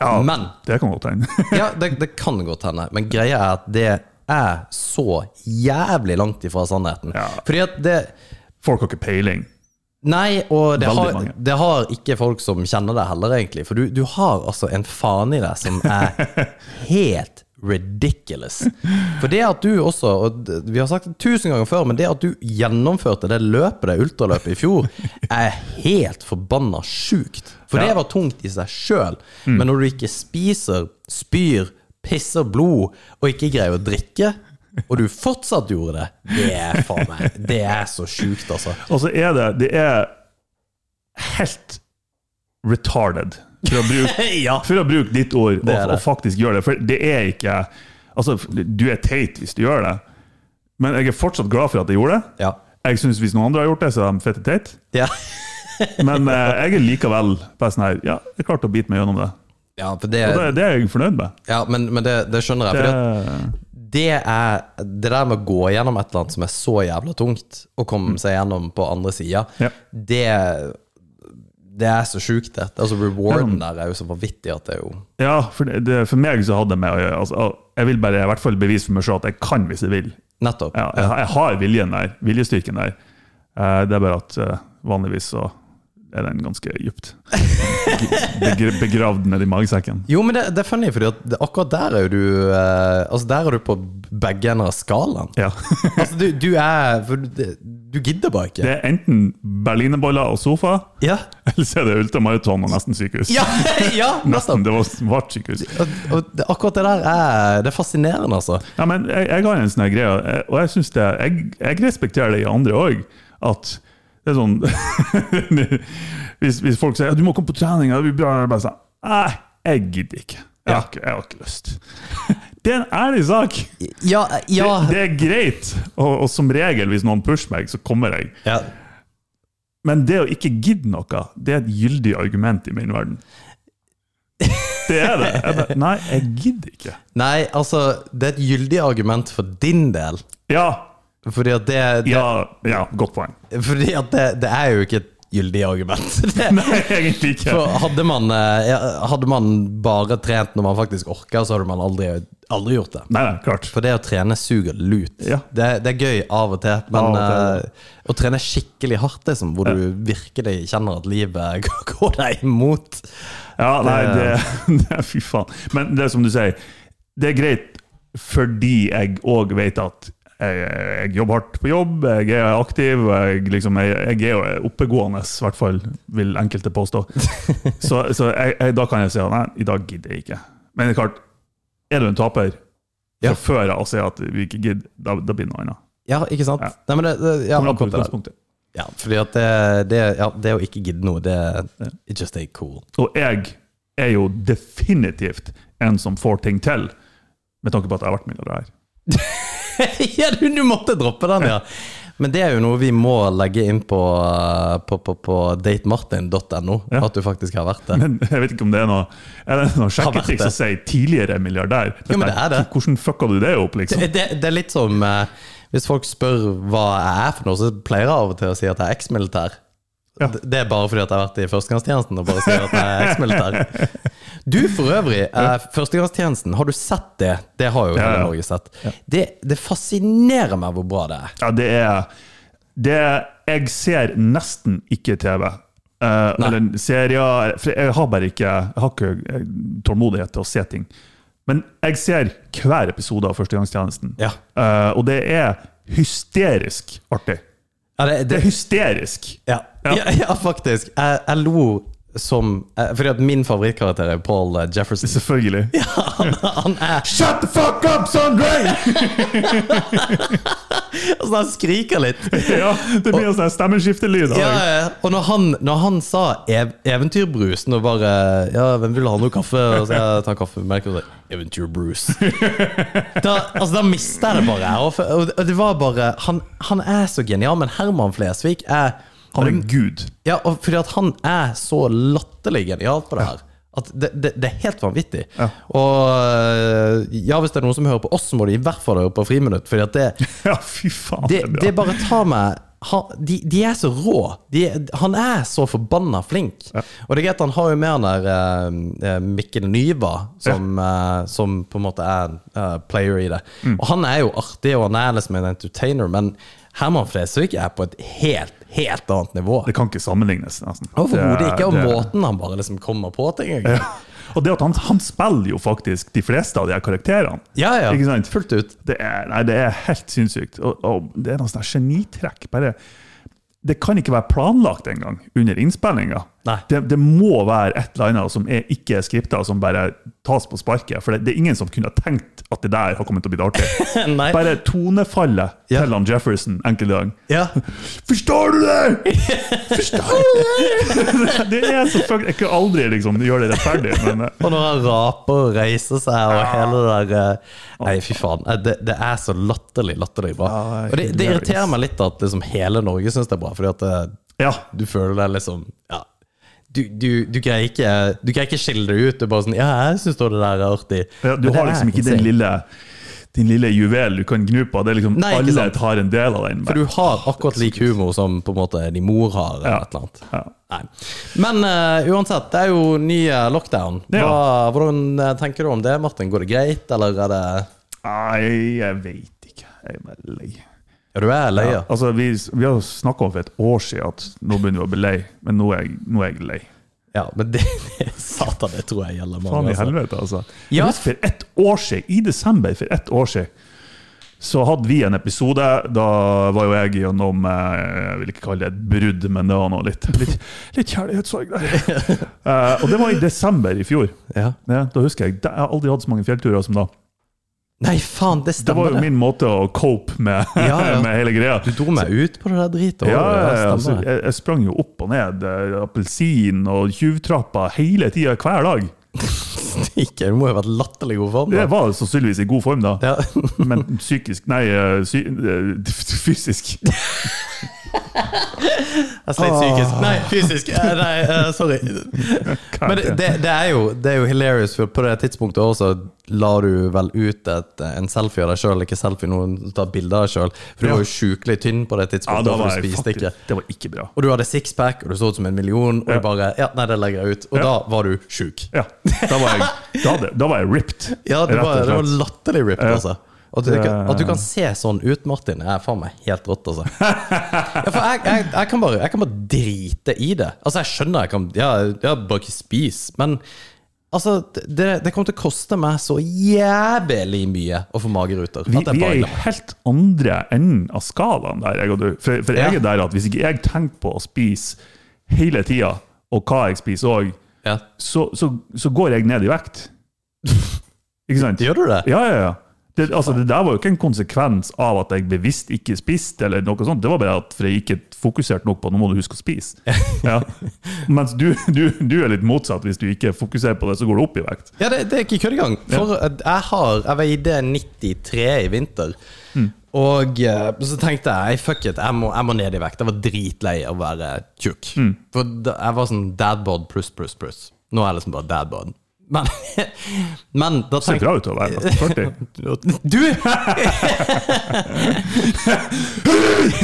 Speaker 2: Ja,
Speaker 3: Men
Speaker 2: Det kan godt hende. *laughs*
Speaker 3: Ja, det, det kan godt hende, men greia er at det er så jævlig langt ifra sannheten.
Speaker 2: Ja.
Speaker 3: Fordi at det
Speaker 2: Folk har ikke peiling.
Speaker 3: Nei, og det
Speaker 2: Veldig
Speaker 3: har,
Speaker 2: mange.
Speaker 3: det har ikke folk som kjenner deg heller, egentlig. For du, du har altså en faen i deg som
Speaker 2: *laughs*
Speaker 3: er helt ridiculous. For det at du også, og d- vi har sagt det tusen ganger før, men det at du gjennomførte det løpet, det ultraløpet i fjor, er helt forbanna sjukt. For det var tungt i seg sjøl.
Speaker 2: Mm.
Speaker 3: Men når du ikke spiser, spyr, pisser blod og ikke greier å drikke, og du fortsatt gjorde det, det er faen meg Det er så sjukt,
Speaker 2: *laughs*
Speaker 3: altså.
Speaker 2: Og så er det Det er helt retarded, for å bruke,
Speaker 3: *laughs* Ja.
Speaker 2: for å bruke ditt ord, og,
Speaker 3: Det er det.
Speaker 2: og faktisk gjøre det. For det er ikke Altså, du er teit hvis du gjør det, men jeg er fortsatt glad for at jeg gjorde det.
Speaker 3: Ja.
Speaker 2: Jeg synes Hvis noen andre har gjort det, så er de fette teit.
Speaker 3: Ja.
Speaker 2: Men
Speaker 3: *laughs*
Speaker 2: eh, jeg er likevel bare sånn her Ja, jeg klarte å bite meg gjennom det.
Speaker 3: Ja, for
Speaker 2: Og det,
Speaker 3: det,
Speaker 2: det er jeg fornøyd med.
Speaker 3: ja men, men det, det skjønner jeg.
Speaker 2: Det,
Speaker 3: For det, er, det der med å gå gjennom et eller annet som er så jævla tungt, og komme seg gjennom på andre sida,
Speaker 2: Mm. Ja.
Speaker 3: det, det er så sjukt, det. Altså, rewarden der er jo så vanvittig at det er jo
Speaker 2: ja, for, det, det, for meg så hadde det med å gjøre altså, Jeg vil bare i hvert fall bevise for meg selv at jeg kan hvis jeg vil.
Speaker 3: Nettopp.
Speaker 2: Ja, jeg, jeg har viljen der, viljestyrken der. Eh, det er bare at eh, vanligvis så er den ganske dypt Begr- begravd nedi magesekken.
Speaker 3: Jo, men det, det er funny, for akkurat der er jo du eh, Altså, der er du på begge ender av skalaen.
Speaker 2: Ja. *laughs*
Speaker 3: Altså, du, du er For du, du gidder bare ikke.
Speaker 2: Det er enten berlinerboller og sofa,
Speaker 3: Ja.
Speaker 2: eller så er det ultramaraton og nesten sykehus.
Speaker 3: Ja, *laughs* ja,
Speaker 2: Nesten,
Speaker 3: nettopp.
Speaker 2: det var svart sykehus.
Speaker 3: Og, og det, akkurat det der er Det er fascinerende, altså.
Speaker 2: Ja, men jeg, jeg har en sånn her greie, eh, og jeg synes det, jeg, jeg respekterer det i andre òg, at det er sånn *laughs* hvis, hvis folk sier ja, du må komme på trening, ja, det blir bra, jeg bare sånn Nei, jeg gidder ikke. Jeg har ikke, jeg har ikke lyst. *laughs* Det er en ærlig sak.
Speaker 3: Ja, ja.
Speaker 2: Det, det er greit, og, og som regel, hvis noen pusher meg, så kommer jeg.
Speaker 3: ja.
Speaker 2: Men det å ikke gidde noe, det er et gyldig argument i min verden. Det er det. Jeg bare, nei, jeg gidder
Speaker 3: *laughs*
Speaker 2: ikke.
Speaker 3: Nei, altså, det er et gyldig argument for din del.
Speaker 2: Ja,
Speaker 3: Fordi at det, det,
Speaker 2: ja, ja godt poeng. *laughs*
Speaker 3: fordi at det, det er jo ikke et gyldig argument. *laughs* Det,
Speaker 2: Nei, egentlig ikke.
Speaker 3: for hadde man, eh, ja, hadde man bare trent når man faktisk orker, så hadde man aldri, aldri gjort det.
Speaker 2: Nei, nei, klart.
Speaker 3: For det å trene suger lut.
Speaker 2: Ja.
Speaker 3: Det, det er gøy av og til, men
Speaker 2: Av og
Speaker 3: eh, å trene skikkelig hardt, liksom, hvor du virkelig kjenner at livet *laughs* går deg imot
Speaker 2: Ja, nei, det, *laughs* det Fy faen. Men det er som du sier, det er greit fordi jeg òg vet at jeg, jeg jobber hardt på jobb, jeg er aktiv, jeg, liksom, jeg, jeg er jo oppegående, i hvert fall vil enkelte
Speaker 3: *laughs*
Speaker 2: påstå. Så, så jeg, jeg, da kan jeg si at nei, i dag gidder jeg ikke. Men det er klart, er du en taper fra
Speaker 3: Ja.
Speaker 2: før av og sier at vi ikke gidder, da, da blir det noe annet.
Speaker 3: Ja, ikke sant?
Speaker 2: Ja.
Speaker 3: Nei, men det, det, ja,
Speaker 2: Kommer an på
Speaker 3: akkurat det der.
Speaker 2: utgangspunktet.
Speaker 3: Ja, fordi at det, det, ja, det å ikke gidde noe, det it just ain't cool.
Speaker 2: Og jeg er jo definitivt en som får ting til, med tanke på at jeg har vært milliardær.
Speaker 3: *laughs*
Speaker 2: *laughs*
Speaker 3: ja, du, du måtte droppe den, ja. Men det er jo noe vi må legge inn på, eh, på, på, på datemartin.no,
Speaker 2: Ja.
Speaker 3: at du faktisk har *laughs* vært det.
Speaker 2: Men jeg vet ikke om det er noe Er det noe
Speaker 3: vært det.
Speaker 2: sjekketriks å si 'tidligere milliardær'?
Speaker 3: Jo, men det er det.
Speaker 2: Hvordan fucka du det opp, liksom?
Speaker 3: Det, det, det er litt som eh, hvis folk spør hva jeg er for noe, så pleier jeg av og til å si at jeg er eksmilitær.
Speaker 2: Ja.
Speaker 3: Det det er bare fordi at jeg har vært i førstegangstjenesten og bare sier at jeg er eksmilitær. Du, for øvrig, eh, førstegangstjenesten, har du sett det? Det har jo hele
Speaker 2: Ja, ja.
Speaker 3: Norge sett. Det, det fascinerer meg hvor bra det er.
Speaker 2: Ja, det er det er- Jeg ser nesten ikke TV. Eh,
Speaker 3: Nei.
Speaker 2: eller serier For jeg har bare ikke Jeg har ikke eh, tålmodighet til å se ting. Men jeg ser hver episode av Førstegangstjenesten.
Speaker 3: Ja.
Speaker 2: Eh, og det er hysterisk artig.
Speaker 3: Ja, det,
Speaker 2: Det
Speaker 3: det,
Speaker 2: er hysterisk.
Speaker 3: Ja,
Speaker 2: Ja.
Speaker 3: ja, ja faktisk. Jeg, jeg lo som eh, Fordi at min favorittkarakter er Paul eh, Jefferson. *laughs*
Speaker 2: Selvfølgelig.
Speaker 3: Han, han er
Speaker 2: Shut the fuck up, Sondre!
Speaker 3: altså, Han skriker litt.
Speaker 2: *laughs* ja, det blir en sånn stemmeskiftelyd. av
Speaker 3: Ja,
Speaker 2: det.
Speaker 3: ja. Og når han, når han sa ev eventyrbrus og bare Ja, hvem vil ha noe kaffe? Og så jeg tar kaffe med melk og så Eventyrbrus. *laughs* Da, altså, da mista jeg det bare. Og, for- og det var bare Han, han er så genial, men Herman Flesvig er
Speaker 2: Han er gud.
Speaker 3: Ja, og fordi at han er så latterlig genial på det her. At det, det, det er helt vanvittig.
Speaker 2: Ja.
Speaker 3: Og øh, ja, hvis det er noen som hører på oss, så må de i hvert fall høre på Friminutt. Fordi at det,
Speaker 2: Ja, fy faen.
Speaker 3: det,
Speaker 2: er bra.
Speaker 3: det bare tar meg han, de, de er så rå. De, han er så forbanna flink. Og det er greit, han har jo med han der eh, Mikkel Nyva, som, eh, som på en måte er en eh, player i det.
Speaker 2: Mm.
Speaker 3: Og han er jo artig, og han er liksom en entertainer, men Herman Flesvig er på et helt, helt annet nivå.
Speaker 2: Det kan ikke sammenlignes, nesten.
Speaker 3: Overhodet ikke. Og
Speaker 2: Det- det-
Speaker 3: måten han bare liksom kommer på ting engang.
Speaker 2: Ja. Og det at han, han spiller jo faktisk de fleste av de her karakterene.
Speaker 3: Ja, ja.
Speaker 2: Ikke sant?
Speaker 3: Fullt ut.
Speaker 2: Det er, nei, det er helt sinnssykt. Og, og det er noe sånn her genitrekk. Bare, det kan ikke være planlagt engang under innspillinga.
Speaker 3: Nei.
Speaker 2: Det, det må være et eller annet som er ikke er skripta, som bare tas på sparket. For det, det er ingen som kunne ha tenkt at det der har kommet til å bli artig.
Speaker 3: *laughs* *laughs* Nei.
Speaker 2: Bare tonefallet
Speaker 3: Ja.
Speaker 2: til han Jefferson enkelte gang.
Speaker 3: Ja.
Speaker 2: Forstår du det?! Forstår du det?! *laughs* det er selvfølgelig Jeg kan aldri liksom gjøre det rettferdig, men eh,
Speaker 3: Og når han raper og reiser seg og hele det der eh, Nei, fy faen. eh, Det, det er så latterlig, latterlig bra.
Speaker 2: Ja, det er
Speaker 3: Og det, det
Speaker 2: hilarious.
Speaker 3: irriterer meg litt at liksom hele Norge syns det er bra, fordi at eh,
Speaker 2: ja.
Speaker 3: du føler deg liksom Ja. Du, du, du, greier ikke, du greier ikke skille det ut. Du er bare sånn Ja, jeg syns det der er artig.
Speaker 2: Ja, Du
Speaker 3: Men det
Speaker 2: har liksom
Speaker 3: er
Speaker 2: ikke den
Speaker 3: insane.
Speaker 2: lille din lille juvel du kan gnu på. Det er liksom
Speaker 3: Nei, ikke
Speaker 2: Alle
Speaker 3: sant.
Speaker 2: tar en del av den.
Speaker 3: For du har akkurat lik humor som på en måte din mor har. eller
Speaker 2: Ja.
Speaker 3: et eller annet.
Speaker 2: Ja.
Speaker 3: Nei. Men eh, uansett, det er jo ny eh, lockdown.
Speaker 2: Ja.
Speaker 3: Hva, hvordan eh, tenker du om det, Martin? Går det greit, eller er det
Speaker 2: Nei, jeg veit ikke. Jeg er bare lei.
Speaker 3: Ja, du er lei, ja.
Speaker 2: Altså, vi, vi har snakka om for et år siden at nå begynner vi å bli lei, men nå er jeg, nå er jeg lei.
Speaker 3: ja men det, det Satan, det tror jeg gjelder
Speaker 2: Faen
Speaker 3: mange.
Speaker 2: i
Speaker 3: Altså.
Speaker 2: helvete, altså.
Speaker 3: Ja.
Speaker 2: Jeg husker for ett år siden, i desember for ett år siden, så hadde vi en episode. Da var jo jeg gjennom eh, Jeg vil ikke kalle det et brudd, men det var nå litt, litt, litt kjærlighetssorg
Speaker 3: *laughs*
Speaker 2: der. Eh, og det var i desember i fjor.
Speaker 3: Ja.
Speaker 2: Ja, da husker Jeg da- jeg har aldri hatt så mange fjellturer som da.
Speaker 3: Nei, faen, det
Speaker 2: Det var
Speaker 3: stemmer,
Speaker 2: jo
Speaker 3: det.
Speaker 2: min måte å cope med,
Speaker 3: Ja, ja.
Speaker 2: *laughs* med hele greia.
Speaker 3: Du dro meg ut på det der dritet.
Speaker 2: Ja, ja, ja.
Speaker 3: det
Speaker 2: altså,
Speaker 3: stemmer det.
Speaker 2: jeg, jeg sprang jo opp og ned eh, appelsin og tjuvtrappa hele tida, hver dag.
Speaker 3: *laughs* Ikke, Du må jo ha vært latterlig god form.
Speaker 2: Jeg
Speaker 3: Da.
Speaker 2: var sannsynligvis i god form da,
Speaker 3: Ja.
Speaker 2: men psykisk Nei, eh, sy eh, *laughs* fysisk.
Speaker 3: Jeg *laughs* sleit psykisk. Nei, fysisk. Eh, Nei, eh, *laughs* sorry. Men det, det, det, er jo, det er jo hilarious, for på det tidspunktet også la du vel ut et, eh, en selfie av deg sjøl, ikke selfie, noen tar bilder av deg sjøl, for du
Speaker 2: Ja.
Speaker 3: var jo sjukelig tynn på det
Speaker 2: Ja,
Speaker 3: tidspunktet,
Speaker 2: da
Speaker 3: for
Speaker 2: var
Speaker 3: du
Speaker 2: jeg
Speaker 3: spiste
Speaker 2: faktisk
Speaker 3: ikke.
Speaker 2: Det var ikke bra.
Speaker 3: Og du hadde sixpack, og du så ut som en million, og
Speaker 2: Ja.
Speaker 3: du bare Ja, nei, det legger jeg ut. Og
Speaker 2: Ja.
Speaker 3: da var du sjuk.
Speaker 2: Ja, da var jeg, da, hadde- da var jeg ripped.
Speaker 3: Ja, det
Speaker 2: rett og
Speaker 3: var, det var
Speaker 2: slett.
Speaker 3: latterlig ripped,
Speaker 2: Ja.
Speaker 3: altså. At du,
Speaker 2: Det-
Speaker 3: kan, at du kan se sånn ut, Martin, er faen meg helt rått,
Speaker 2: *laughs*
Speaker 3: altså. Ja, for jeg, jeg, jeg, kan bare, jeg kan bare drite i det. Altså, jeg skjønner jeg kan Ja, ja bare ikke spis, men altså det, det kommer til å koste meg så jævlig mye å få mageruter.
Speaker 2: Vi,
Speaker 3: at jeg
Speaker 2: vi
Speaker 3: bare
Speaker 2: er i
Speaker 3: glemmer.
Speaker 2: helt andre enden av skalaen der, jeg og du. For, for
Speaker 3: Ja.
Speaker 2: jeg er der at hvis ikke jeg tenker på å spise hele tida, og hva jeg spiser òg,
Speaker 3: ja.
Speaker 2: så, så, så går jeg ned i
Speaker 3: *laughs*
Speaker 2: vekt. Ikke sant?
Speaker 3: Gjør du det?
Speaker 2: Ja, ja, ja. Det, altså, det der var jo ikke en konsekvens av at jeg bevisst ikke spiste, eller noe sånt. Det var bare at for jeg ikke fokuserte nok på nå må du huske å spise. Ja. Mens du, du, du er litt motsatt. Hvis du ikke fokuserer på det, så går du opp i vekt.
Speaker 3: Ja, det, det er ikke kødd engang. For eh, jeg har Jeg veide 93 i vinter.
Speaker 2: Mm.
Speaker 3: Og eh, så tenkte jeg fuck it, jeg må, jeg må ned i vekt. Jeg var dritlei av å være tjukk.
Speaker 2: Mm.
Speaker 3: For da, jeg var sånn dadbod pluss, pluss, pluss. Nå er jeg liksom bare dadbod. Men, *laughs* men da
Speaker 2: Det ser
Speaker 3: tenkte
Speaker 2: bra ut til å være altså. nesten 40.
Speaker 3: Du!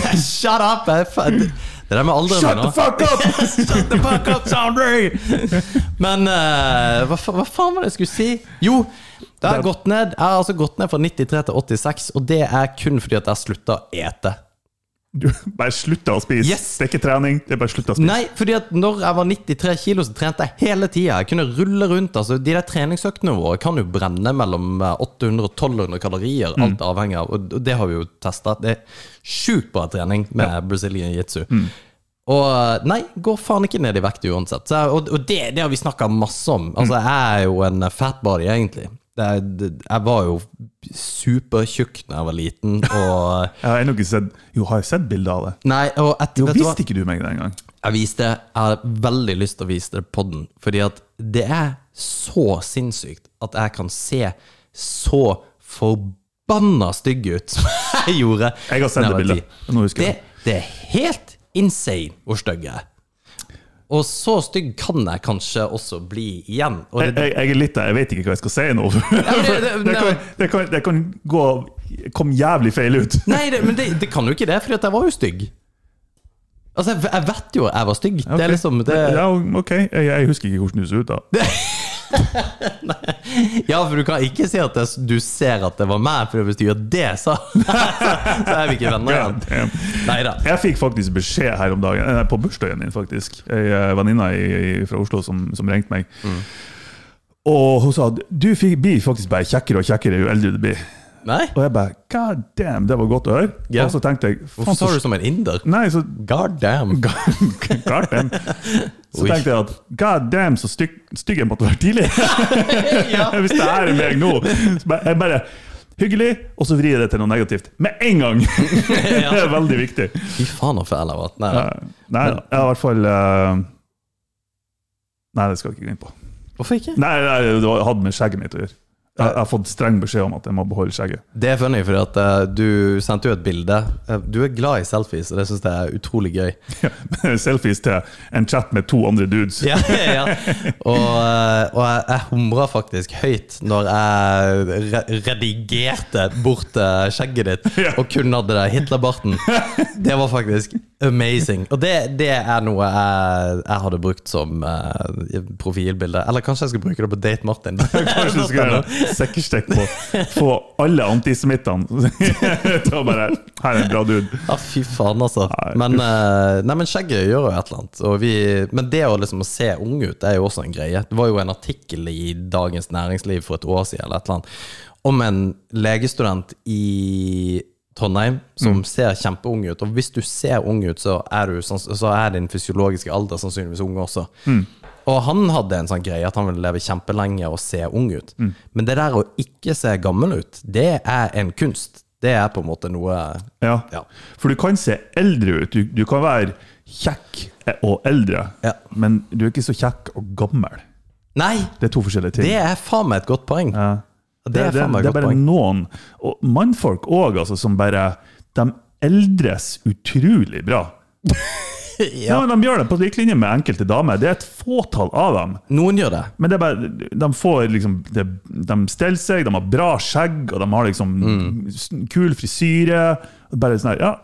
Speaker 3: *laughs* Shut up! jeg er fa- Det der med alderen min
Speaker 2: Shut
Speaker 3: nå.
Speaker 2: the fuck up!
Speaker 3: Shut the fuck up, Sondre! Men eh, hva, fa- hva faen var det jeg skulle si? Jo, det har
Speaker 2: Det-
Speaker 3: gått ned. Jeg har altså gått ned fra 93 til 86, og det er kun fordi at jeg slutta å ete.
Speaker 2: Du, bare slutta å spise.
Speaker 3: Yes.
Speaker 2: Det er ikke trening, det er bare slutta å spise.
Speaker 3: Nei, fordi at når jeg var 93 kilo, så trente jeg hele tida. Jeg kunne rulle rundt. altså De der treningsøktene våre kan jo brenne mellom eh, 800 og 1200 kalorier,
Speaker 2: Mm.
Speaker 3: alt avhengig av. Og og det har vi jo testa. Det er sjukt bra trening med Brazilian jitsu.
Speaker 2: Mm.
Speaker 3: Og eh, nei, går faen ikke ned i vekt uansett. Så, jeg- og og det, det har vi snakka masse om. Altså,
Speaker 2: Mm.
Speaker 3: jeg er jo en eh, fat body, egentlig. Det er- det- Jeg var jo supertjukk da jeg var liten, og eh,
Speaker 2: Jeg har ennå ikke sett Jo, har jeg sett bilder av det?
Speaker 3: Nei, og etter,
Speaker 2: Jo,
Speaker 3: vet du hva?
Speaker 2: visste ikke du meg det engang?
Speaker 3: Jeg viste det, jeg har veldig lyst til å vise det på den, fordi at det er så sinnssykt at jeg kan se så forbanna stygg ut som jeg gjorde.
Speaker 2: Jeg har sett
Speaker 3: når
Speaker 2: det
Speaker 3: var
Speaker 2: bildet.
Speaker 3: ti.
Speaker 2: Nå husker
Speaker 3: Det,
Speaker 2: jeg.
Speaker 3: det er helt insane hvor stygg jeg er. Og så stygg kan jeg kanskje også bli igjen. Og
Speaker 2: Jeg,
Speaker 3: det,
Speaker 2: jeg, jeg er litt der, jeg vet ikke hva jeg skal si nå. For
Speaker 3: det- det-
Speaker 2: *laughs* det kan, det kan, det kan gå, kom jævlig feil ut.
Speaker 3: Nei, det, men det, det kan jo ikke det, for jeg var jo stygg. Altså, jeg, jeg vet jo at jeg var stygg. Det er liksom det,
Speaker 2: Ja, ok, jeg, jeg husker ikke hvordan du så ut da.
Speaker 3: Ja, for du kan ikke si at det, du ser at det var meg, for hvis du gjør det, så *laughs* Så er vi ikke venner
Speaker 2: God
Speaker 3: igjen.
Speaker 2: damn.
Speaker 3: Nei da.
Speaker 2: Jeg fikk faktisk beskjed her om dagen, eh, på bursdagen din faktisk, ei eh, venninne i- i- fra Oslo som, som ringte meg.
Speaker 3: Mm.
Speaker 2: Og hun sa du fikk, blir faktisk bare kjekkere og kjekkere jo eldre du blir.
Speaker 3: Nei?
Speaker 2: Og jeg bare god damn, det var godt å høre.
Speaker 3: Ja.
Speaker 2: Og så tenkte jeg
Speaker 3: Hvorfor sa du
Speaker 2: så
Speaker 3: som en inder?
Speaker 2: Nei, så *laughs*
Speaker 3: God damn.
Speaker 2: God damn. Så
Speaker 3: Oi.
Speaker 2: tenkte jeg at god damn, så stygg, stygg jeg måtte være tidlig. *laughs*
Speaker 3: *laughs* Ja.
Speaker 2: Hvis det her er meg nå. Så bare, jeg bare Hyggelig, og så vrir jeg det til noe negativt. Med en gang! *laughs* Det er veldig viktig.
Speaker 3: Fy faen, så fæl jeg var. Nei, da.
Speaker 2: Eh, Nei, jeg har i hvert fall eh, Nei, det skal jeg ikke gå inn på.
Speaker 3: Hvorfor ikke?
Speaker 2: Nei, nei Det var- hadde med skjegget mitt å gjøre. Jeg, jeg har fått streng beskjed om at jeg må beholde skjegget. *laughs*
Speaker 3: Det er funny, for at eh, du sendte jo et bilde. Eh, Du er glad i selfies, og det syns jeg er utrolig gøy.
Speaker 2: Selfies til en chat med to andre dudes.
Speaker 3: Ja, ja. Og, eh, og jeg, jeg humra faktisk høyt når jeg re redigerte bort eh, skjegget ditt
Speaker 2: Ja.
Speaker 3: og kun hadde det Hitlerbarten. Det var faktisk amazing. Og det, det er noe jeg, jeg hadde brukt som eh, profilbilde. Eller kanskje jeg skal bruke det på Date
Speaker 2: *laughs*
Speaker 3: Martin. *laughs*
Speaker 2: Kanskje du skal gjøre sekkerstek på få alle antisemittene *laughs* til å bare Her er en bra dude.
Speaker 3: Ja, fy faen, altså. Men, eh, nei, men skjegget gjør jo et eller annet. Og vi, men det å liksom å se ung ut, det er jo også en greie. Det var jo en artikkel i Dagens Næringsliv for et år siden eller et eller annet, om en legestudent i Trondheim som ser kjempeung ut. Og hvis du ser ung ut, så er, du, sanns- så er din fysiologiske alder sannsynligvis ung også. Og han hadde en sånn greie at han ville leve kjempelenge og se ung ut. Men det der å ikke se gammel ut, det er en kunst. Det er på en måte noe
Speaker 2: Ja.
Speaker 3: Ja.
Speaker 2: For du kan se eldre ut. Du, du kan være kjekk og eldre,
Speaker 3: Ja.
Speaker 2: men du er ikke så kjekk og gammel.
Speaker 3: Nei,
Speaker 2: Det er to forskjellige ting.
Speaker 3: det er faen meg et godt poeng. Det
Speaker 2: Det,
Speaker 3: er
Speaker 2: det,
Speaker 3: faen meg
Speaker 2: det
Speaker 3: et
Speaker 2: er
Speaker 3: godt
Speaker 2: bare
Speaker 3: poeng.
Speaker 2: noen, og mannfolk òg, altså, som bare De eldres utrolig bra. Ja.
Speaker 3: Ja.
Speaker 2: men De gjør det på lik linje med enkelte damer. Det er et fåtall av dem.
Speaker 3: Noen gjør det.
Speaker 2: Men det er bare, de får liksom De, de steller seg, de har bra skjegg, og de har liksom s-
Speaker 3: Mm.
Speaker 2: kul frisyre. Bare sånn her Ja,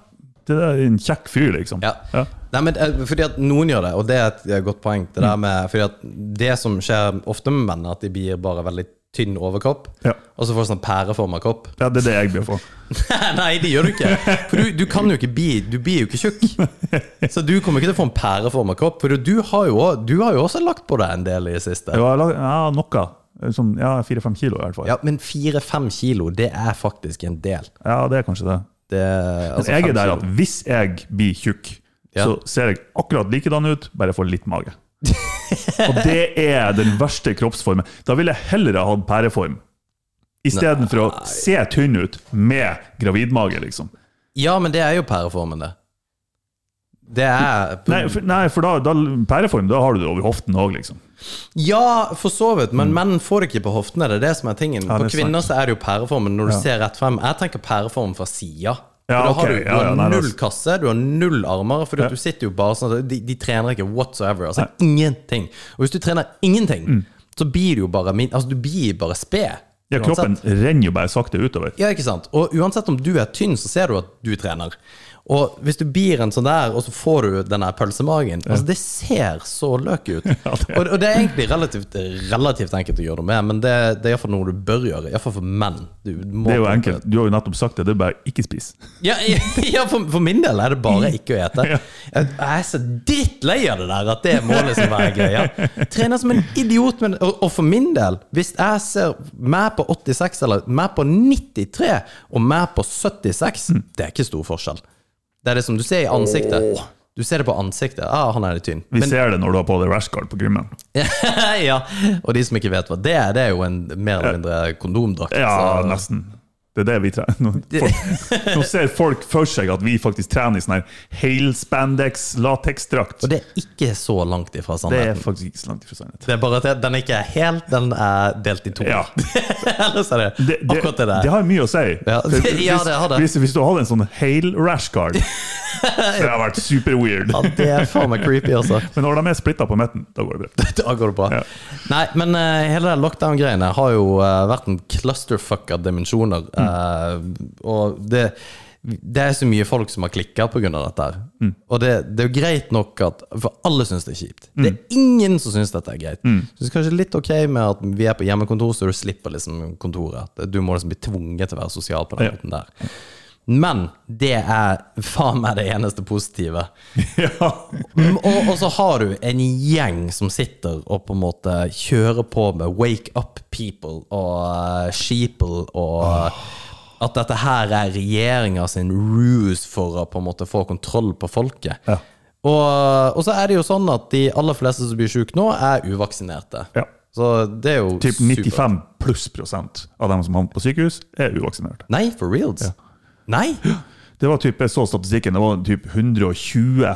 Speaker 2: det er en kjekk fyr, liksom.
Speaker 3: Ja. Nei, men eh, fordi at noen gjør det, og det er et eh, godt poeng. Det,
Speaker 2: Mm.
Speaker 3: der med, fordi at det som skjer ofte med menn, er at de blir bare veldig tynn overkropp,
Speaker 2: Ja.
Speaker 3: og så får de sånn pæreforma kropp. *laughs*
Speaker 2: Ja, det er det jeg blir for.
Speaker 3: Nei, det gjør du ikke. For du, du kan jo ikke bli Du blir jo ikke tjukk. Så du kommer ikke til å få en pæreforma kropp. For du har, jo, også- du har jo også lagt på deg en del i det siste.
Speaker 2: Ja, la- ja noe. Sånn, ja, fire-fem kilo, i hvert fall.
Speaker 3: Ja, men fire-fem kilo, det er faktisk en del.
Speaker 2: ja, det er kanskje det.
Speaker 3: Det, altså,
Speaker 2: jeg
Speaker 3: fem
Speaker 2: er der
Speaker 3: kilo.
Speaker 2: at hvis jeg blir tjukk,
Speaker 3: Ja.
Speaker 2: så ser jeg akkurat likedan ut, bare får litt mage. Og det er den verste kroppsformen. Da ville jeg heller ha hatt pæreform. Istedenfor å se tynn ut med gravidmage, liksom.
Speaker 3: Ja, men det er jo pæreformen, det. Det er
Speaker 2: Nei, for, nei, for da, da pæreform, da har du det over hoften òg, liksom.
Speaker 3: Ja, for så vidt, men menn får det ikke på hoftene. Det er det som er tingen.
Speaker 2: Mm. det
Speaker 3: på
Speaker 2: er
Speaker 3: kvinner så er det jo pæreformen når du ser rett frem. Jeg tenker pæreform fra sida.
Speaker 2: Ja,
Speaker 3: da har
Speaker 2: ok.
Speaker 3: du, du
Speaker 2: Ja, ja,
Speaker 3: har
Speaker 2: nei, det er-
Speaker 3: null kasse, du har null armer, for du sitter jo bare sånn at de, de trener ikke whatsoever. Altså ingenting. Og hvis du trener ingenting, så blir du jo bare min, Altså, du blir bare sped.
Speaker 2: Mm. Ja,
Speaker 3: uansett.
Speaker 2: kroppen renner jo bare sakte utover.
Speaker 3: Ja, ikke sant? Og uansett om du er tynn, så ser du at du trener. Og hvis du blir en sånn der, og så får du den der pølsemagen Altså, det ser så løk
Speaker 2: *laughs*
Speaker 3: ut.
Speaker 2: det er-
Speaker 3: og, og det er egentlig relativt, relativt enkelt å gjøre noe med, men det, det er iallfall noe du bør gjøre. Iallfall for menn. Du må
Speaker 2: Det er jo enkelt. Du har jo nettopp sagt det. Det er bare ikke spis.
Speaker 3: Ja, *laughs* ja for, for min del er det bare ikke å ete. Jeg, jeg er så drittlei av det der at det må liksom være greia. Trener som en idiot, men og, og for min del, hvis jeg ser meg på 86 eller meg på 93 og meg på 76,
Speaker 2: Mm.
Speaker 3: det er ikke stor forskjell. Det er det som du ser i ansiktet. Du ser det på ansiktet. Ah, han er litt tynn. *laughs*
Speaker 2: Vi ser det når du har på deg rashguard på gymmen.
Speaker 3: ja, og de som ikke vet hva det er, det er jo en mer eller mindre kondomdrakt.
Speaker 2: Ja,
Speaker 3: så-
Speaker 2: nesten. Det er det vi trener. Nå, folk, nå ser folk for seg at vi faktisk trener i sånn her helspandex lateksdrakt.
Speaker 3: Og det er ikke så langt ifra
Speaker 2: Det er
Speaker 3: sannheten.
Speaker 2: faktisk ikke så langt ifra sannheten.
Speaker 3: Det er bare at det- den er ikke helt, den er delt i to.
Speaker 2: Ja.
Speaker 3: *laughs* Ellers er det,
Speaker 2: Det, det,
Speaker 3: akkurat det der.
Speaker 2: det har mye å si.
Speaker 3: Ja,
Speaker 2: For hvis,
Speaker 3: ja, det har det.
Speaker 2: Hvis, hvis du hadde en sånn hale rash
Speaker 3: *laughs*
Speaker 2: card, det har vært super weird.
Speaker 3: Ja, det er faen meg creepy, altså.
Speaker 2: Men når de er splitta på midten, da går det
Speaker 3: *laughs*
Speaker 2: bra.
Speaker 3: Da går det bra.
Speaker 2: Ja.
Speaker 3: Nei, men eh, hele det lockdown-greiene har jo eh, vært en clusterfuck av dimensjoner.
Speaker 2: Mm.
Speaker 3: eh, og det, det er så mye folk som har klikka pga. dette. her.
Speaker 2: Mm.
Speaker 3: Og det, det er jo greit nok at For alle syns det er kjipt.
Speaker 2: Mm.
Speaker 3: Det er ingen som syns dette er greit. Så det er kanskje litt ok med at vi er på hjemmekontor, så du slipper liksom kontoret. Du må liksom bli tvunget til å være sosial på den
Speaker 2: Ja.
Speaker 3: måten der. Men det er faen meg det eneste positive.
Speaker 2: Ja.
Speaker 3: Mm, Og, og så har du en gjeng som sitter og på en måte kjører på med wake up people og eh, sheeple og eh, at dette her er regjeringa sin ruse for å på en måte få kontroll på folket.
Speaker 2: Ja.
Speaker 3: Og, og så er det jo sånn at de aller fleste som blir syke nå, er uvaksinerte.
Speaker 2: Ja.
Speaker 3: Så det er jo
Speaker 2: Typ
Speaker 3: supert.
Speaker 2: 95 pluss prosent av dem som havner på sykehus, er uvaksinerte.
Speaker 3: Nei, for reals. Nei!
Speaker 2: Det var typ, jeg så statistikken, det var typ 120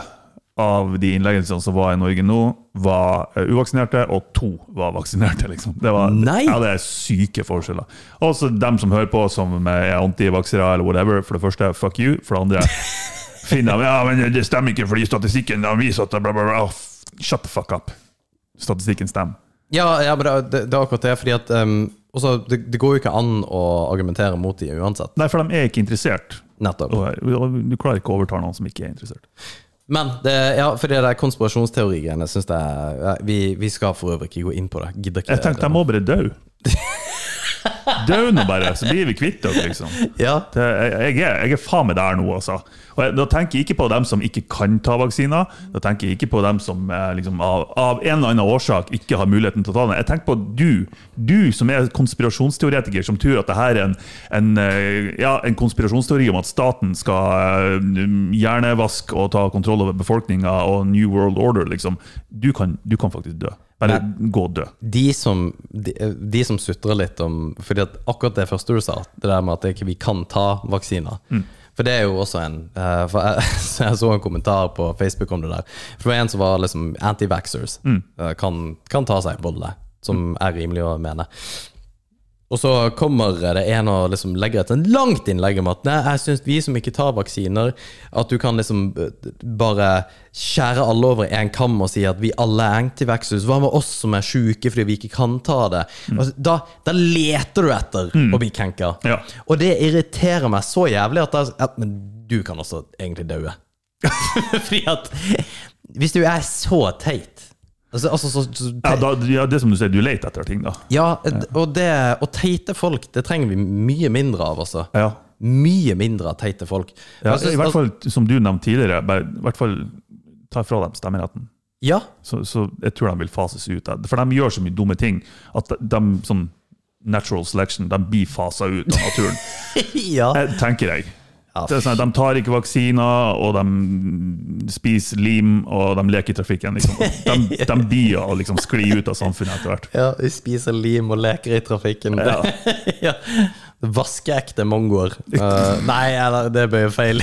Speaker 2: av de innleggelsene som var i Norge nå, var eh, uvaksinerte, og to var vaksinerte. liksom. Det var,
Speaker 3: Nei!
Speaker 2: Ja, det er syke forskjeller. Også dem som hører på som eh, er antivaksere eller whatever. For det første, fuck you. For det andre, finner de ja, men det stemmer ikke fordi statistikken den viser at bla, bla, bla. Oh, f- Shut the fuck up. Statistikken stemmer.
Speaker 3: Ja, ja men det, det, det er akkurat det. Fordi at ehm, også, det, det går jo ikke an å argumentere mot de uansett.
Speaker 2: Nei, for de er ikke interessert.
Speaker 3: Nettopp.
Speaker 2: Og, eh, Du klarer ikke å overtale noen som ikke er interessert.
Speaker 3: Men det, ja, for det der konspirasjonsteorigreiene syns jeg ja, vi, vi skal for øvrig ikke gå inn på det. Gidder ikke
Speaker 2: Jeg tenkte de må bare dø. Dø nå bare, så blir vi kvitt dere, liksom.
Speaker 3: Ja,
Speaker 2: Det, jeg, jeg er, jeg er faen meg der nå, altså. Og jeg, da tenker jeg ikke på dem som ikke kan ta vaksiner. Da tenker jeg ikke på dem som eh, liksom, av, av en eller annen årsak ikke har muligheten til å ta den. Jeg tenker på du. Du som er konspirasjonsteoretiker, som tror at det her er en, en, eh, ja, en konspirasjonsteori om at staten skal eh, hjernevaske og ta kontroll over befolkninga og New World Order, liksom. Du kan, du kan faktisk dø. Bare gå og dø.
Speaker 3: de som, de, de som sutrer litt om Fordi at akkurat det første du sa, det der med at ikke vi kan ta vaksiner.
Speaker 2: Mm.
Speaker 3: For det er jo også en eh, for jeg, *laughs* så jeg så en kommentar på Facebook om det der. For det var en som var liksom anti-vaxxers.
Speaker 2: Mm.
Speaker 3: eh, Kan, kan ta seg en bolle, som er rimelig å mene. Og så kommer det en og liksom legger et sånn langt innlegg om at nei, jeg syns vi som ikke tar vaksiner, at du kan liksom eh, bare skjære alle over én kam og si at vi alle er antivaxus. Hva med oss som er sjuke fordi vi ikke kan ta det?
Speaker 2: Mm.
Speaker 3: Altså, da, da leter du etter å bli krenka.
Speaker 2: Ja.
Speaker 3: Og det irriterer meg så jævlig at, jeg- at Men du kan også egentlig
Speaker 2: *laughs*
Speaker 3: daue. fordi at Hvis du er så teit Altså, altså så, så
Speaker 2: Ja,
Speaker 3: teit
Speaker 2: da, ja, det er som du sier, du leter etter ting, da.
Speaker 3: ja, og, det, og teite folk, det trenger vi mye mindre av, altså.
Speaker 2: Ja.
Speaker 3: Mye mindre av teite folk. Altså,
Speaker 2: Ja,
Speaker 3: Jeg synes-
Speaker 2: I hvert fall, som du nevnte tidligere, bare, i hvert fall ta fra dem stemmeretten.
Speaker 3: altså, Ja, *laughs*
Speaker 2: Så, så jeg tror de vil fases ut. der. For de gjør så mye dumme ting at de, de sånn natural selection, de blir fasa ut av *laughs* naturen.
Speaker 3: ja.
Speaker 2: Jeg, tenker jeg.
Speaker 3: Ja,
Speaker 2: Det er sånn, at de tar ikke vaksiner, og de spiser lim, og de leker i trafikken. Liksom. De, de blir å liksom skli ut av samfunnet etter hvert.
Speaker 3: ja, vi spiser lim og leker i trafikken. *laughs* Ja. Vaskeekte mongoer. Eh, nei, eller, det ble jo feil.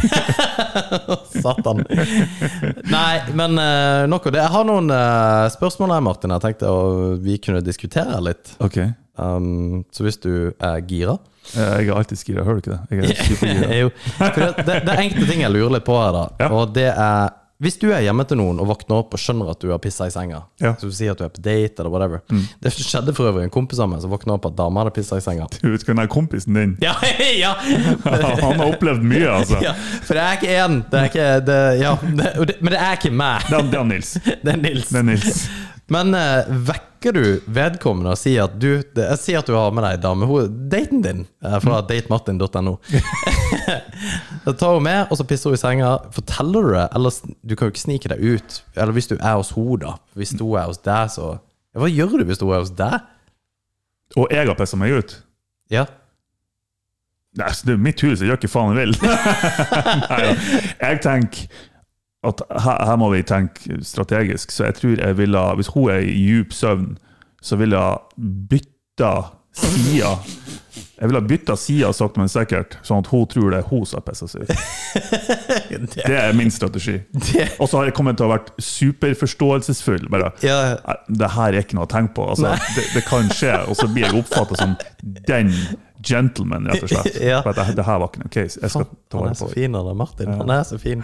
Speaker 3: *laughs* Satan. Nei, men uh, nok om det. Jeg har noen eh, spørsmål her, Martin. Jeg tenkte å, vi kunne diskutere litt.
Speaker 2: Ok. Eh,
Speaker 3: Um, så hvis du er gira
Speaker 2: Jeg er alltid gira, hører du ikke *laughs* det? Jeg er supergira.
Speaker 3: *laughs* Jo, for det, det, det er enkelte ting jeg lurer litt på her, da.
Speaker 2: Ja.
Speaker 3: Og det er Hvis du er hjemme til noen og våkner opp og skjønner at du har pissa i senga
Speaker 2: Ja.
Speaker 3: Så du sier at du er på date eller whatever Det skjedde for øvrig en kompis av meg som våkna opp at dama hadde pissa i senga.
Speaker 2: Du vet hvem er kompisen din?
Speaker 3: Ja, ja.
Speaker 2: *laughs* Han har opplevd mye, altså.
Speaker 3: ja! For det er ikke én. Det er ikke det, Ja, det, og det, men det er ikke meg.
Speaker 2: Det er, det er Nils.
Speaker 3: Det er Nils.
Speaker 2: Det er Nils.
Speaker 3: Men eh, vekker du vedkommende og sier at du det, jeg sier at du har med deg dame, hun- daten din eh, fra datemartin.no. Da tar hun med, og *laughs* så pisser hun i senga. Forteller du det? Eller s- du kan jo ikke snike deg ut. Eller hvis du er hos henne, da. Hvis hun er hos deg, så ja, Hva gjør du hvis hun er hos deg?
Speaker 2: Og jeg har pissa meg ut.
Speaker 3: Ja.
Speaker 2: Nei, så det er mitt hus, jeg gjør ikke faen jeg vil. *laughs* Nei, da. jeg tenker at her, her må vi tenke strategisk, så jeg tror jeg ville Hvis hun er i djup søvn, så ville jeg bytta sida Jeg ville ha bytta side sakte, men sikkert, sånn at hun tror det er hun som har pissa seg ut.
Speaker 3: *laughs* Det,
Speaker 2: Det er min strategi.
Speaker 3: Det-
Speaker 2: Og så har jeg kommet til å ha vært superforståelsesfull. Bare
Speaker 3: Ja.
Speaker 2: "Nei, det her er ikke noe å tenke på. Altså, det, det kan skje. Og så blir jeg oppfatta som den gentleman, rett og slett.
Speaker 3: Ja.
Speaker 2: For at det, det her var ikke noe case. Jeg skal
Speaker 3: Faen,
Speaker 2: ta
Speaker 3: han
Speaker 2: vare
Speaker 3: er så
Speaker 2: på det.
Speaker 3: fin, han der Martin. Han er så fin.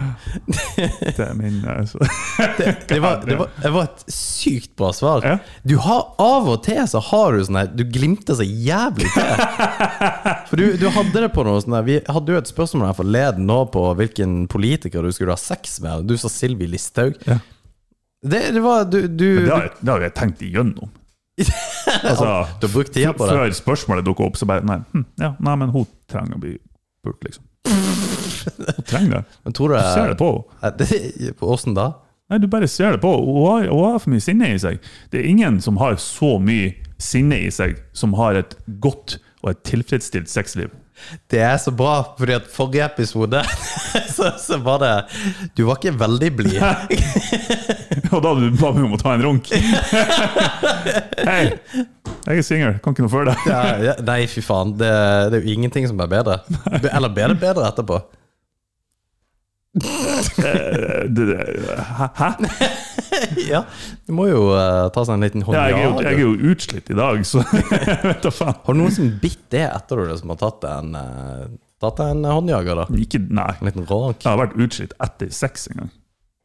Speaker 2: Det er min eh, så-
Speaker 3: Det var, det var, det var et sykt bra svar.
Speaker 2: Ja.
Speaker 3: Du har Av og til så har du sånn her Du glimter så jævlig
Speaker 2: *laughs*
Speaker 3: til. For du, du hadde det på noe sånn her Vi hadde jo et spørsmål her forleden nå på hvilken politiker du skulle ha sex med. Du sa Sylvi Listhaug.
Speaker 2: Ja.
Speaker 3: Det, det var du, du,
Speaker 2: Det har, jeg-
Speaker 3: du,
Speaker 2: det har jeg tenkt
Speaker 3: *laughs*
Speaker 2: igjennom. Altså,
Speaker 3: du har brukt tida på det.
Speaker 2: før spørsmålet dukket opp, så bare Nei, hm, ja, nei men hun trenger å bli pult, liksom. Hun trenger det.
Speaker 3: Men tror du
Speaker 2: Du ser det på henne.
Speaker 3: det på Åssen da?
Speaker 2: Nei, du bare ser det på. Hun har, hun har for mye sinne i seg. Det er ingen som har så mye sinne i seg, som har et godt og et tilfredsstilt sexliv.
Speaker 3: Det er så bra, fordi at forrige episode *laughs* så, så var det Du var ikke veldig blid.
Speaker 2: *laughs* Og da hadde du ba meg om å ta en
Speaker 3: *laughs*
Speaker 2: runk. Hei, jeg er singel, kan ikke noe for deg.
Speaker 3: Ja, ja, nei, fy faen. Det, det er jo ingenting som er bedre. Eller blir det bedre etterpå?
Speaker 2: Eh, det- det- Hæ? Hæ?
Speaker 3: Ja, Du må jo eh, ta seg en liten hånd
Speaker 2: Ja, jeg, er jo, jeg er
Speaker 3: du.
Speaker 2: jo utslitt i dag, så *laughs* vet da faen.
Speaker 3: Har du noen som bitt det etter du liksom har tatt deg en, eh, tatt deg en håndjager, da?
Speaker 2: Ikke, nei.
Speaker 3: En liten rånk?
Speaker 2: Jeg har vært utslitt etter sex en gang.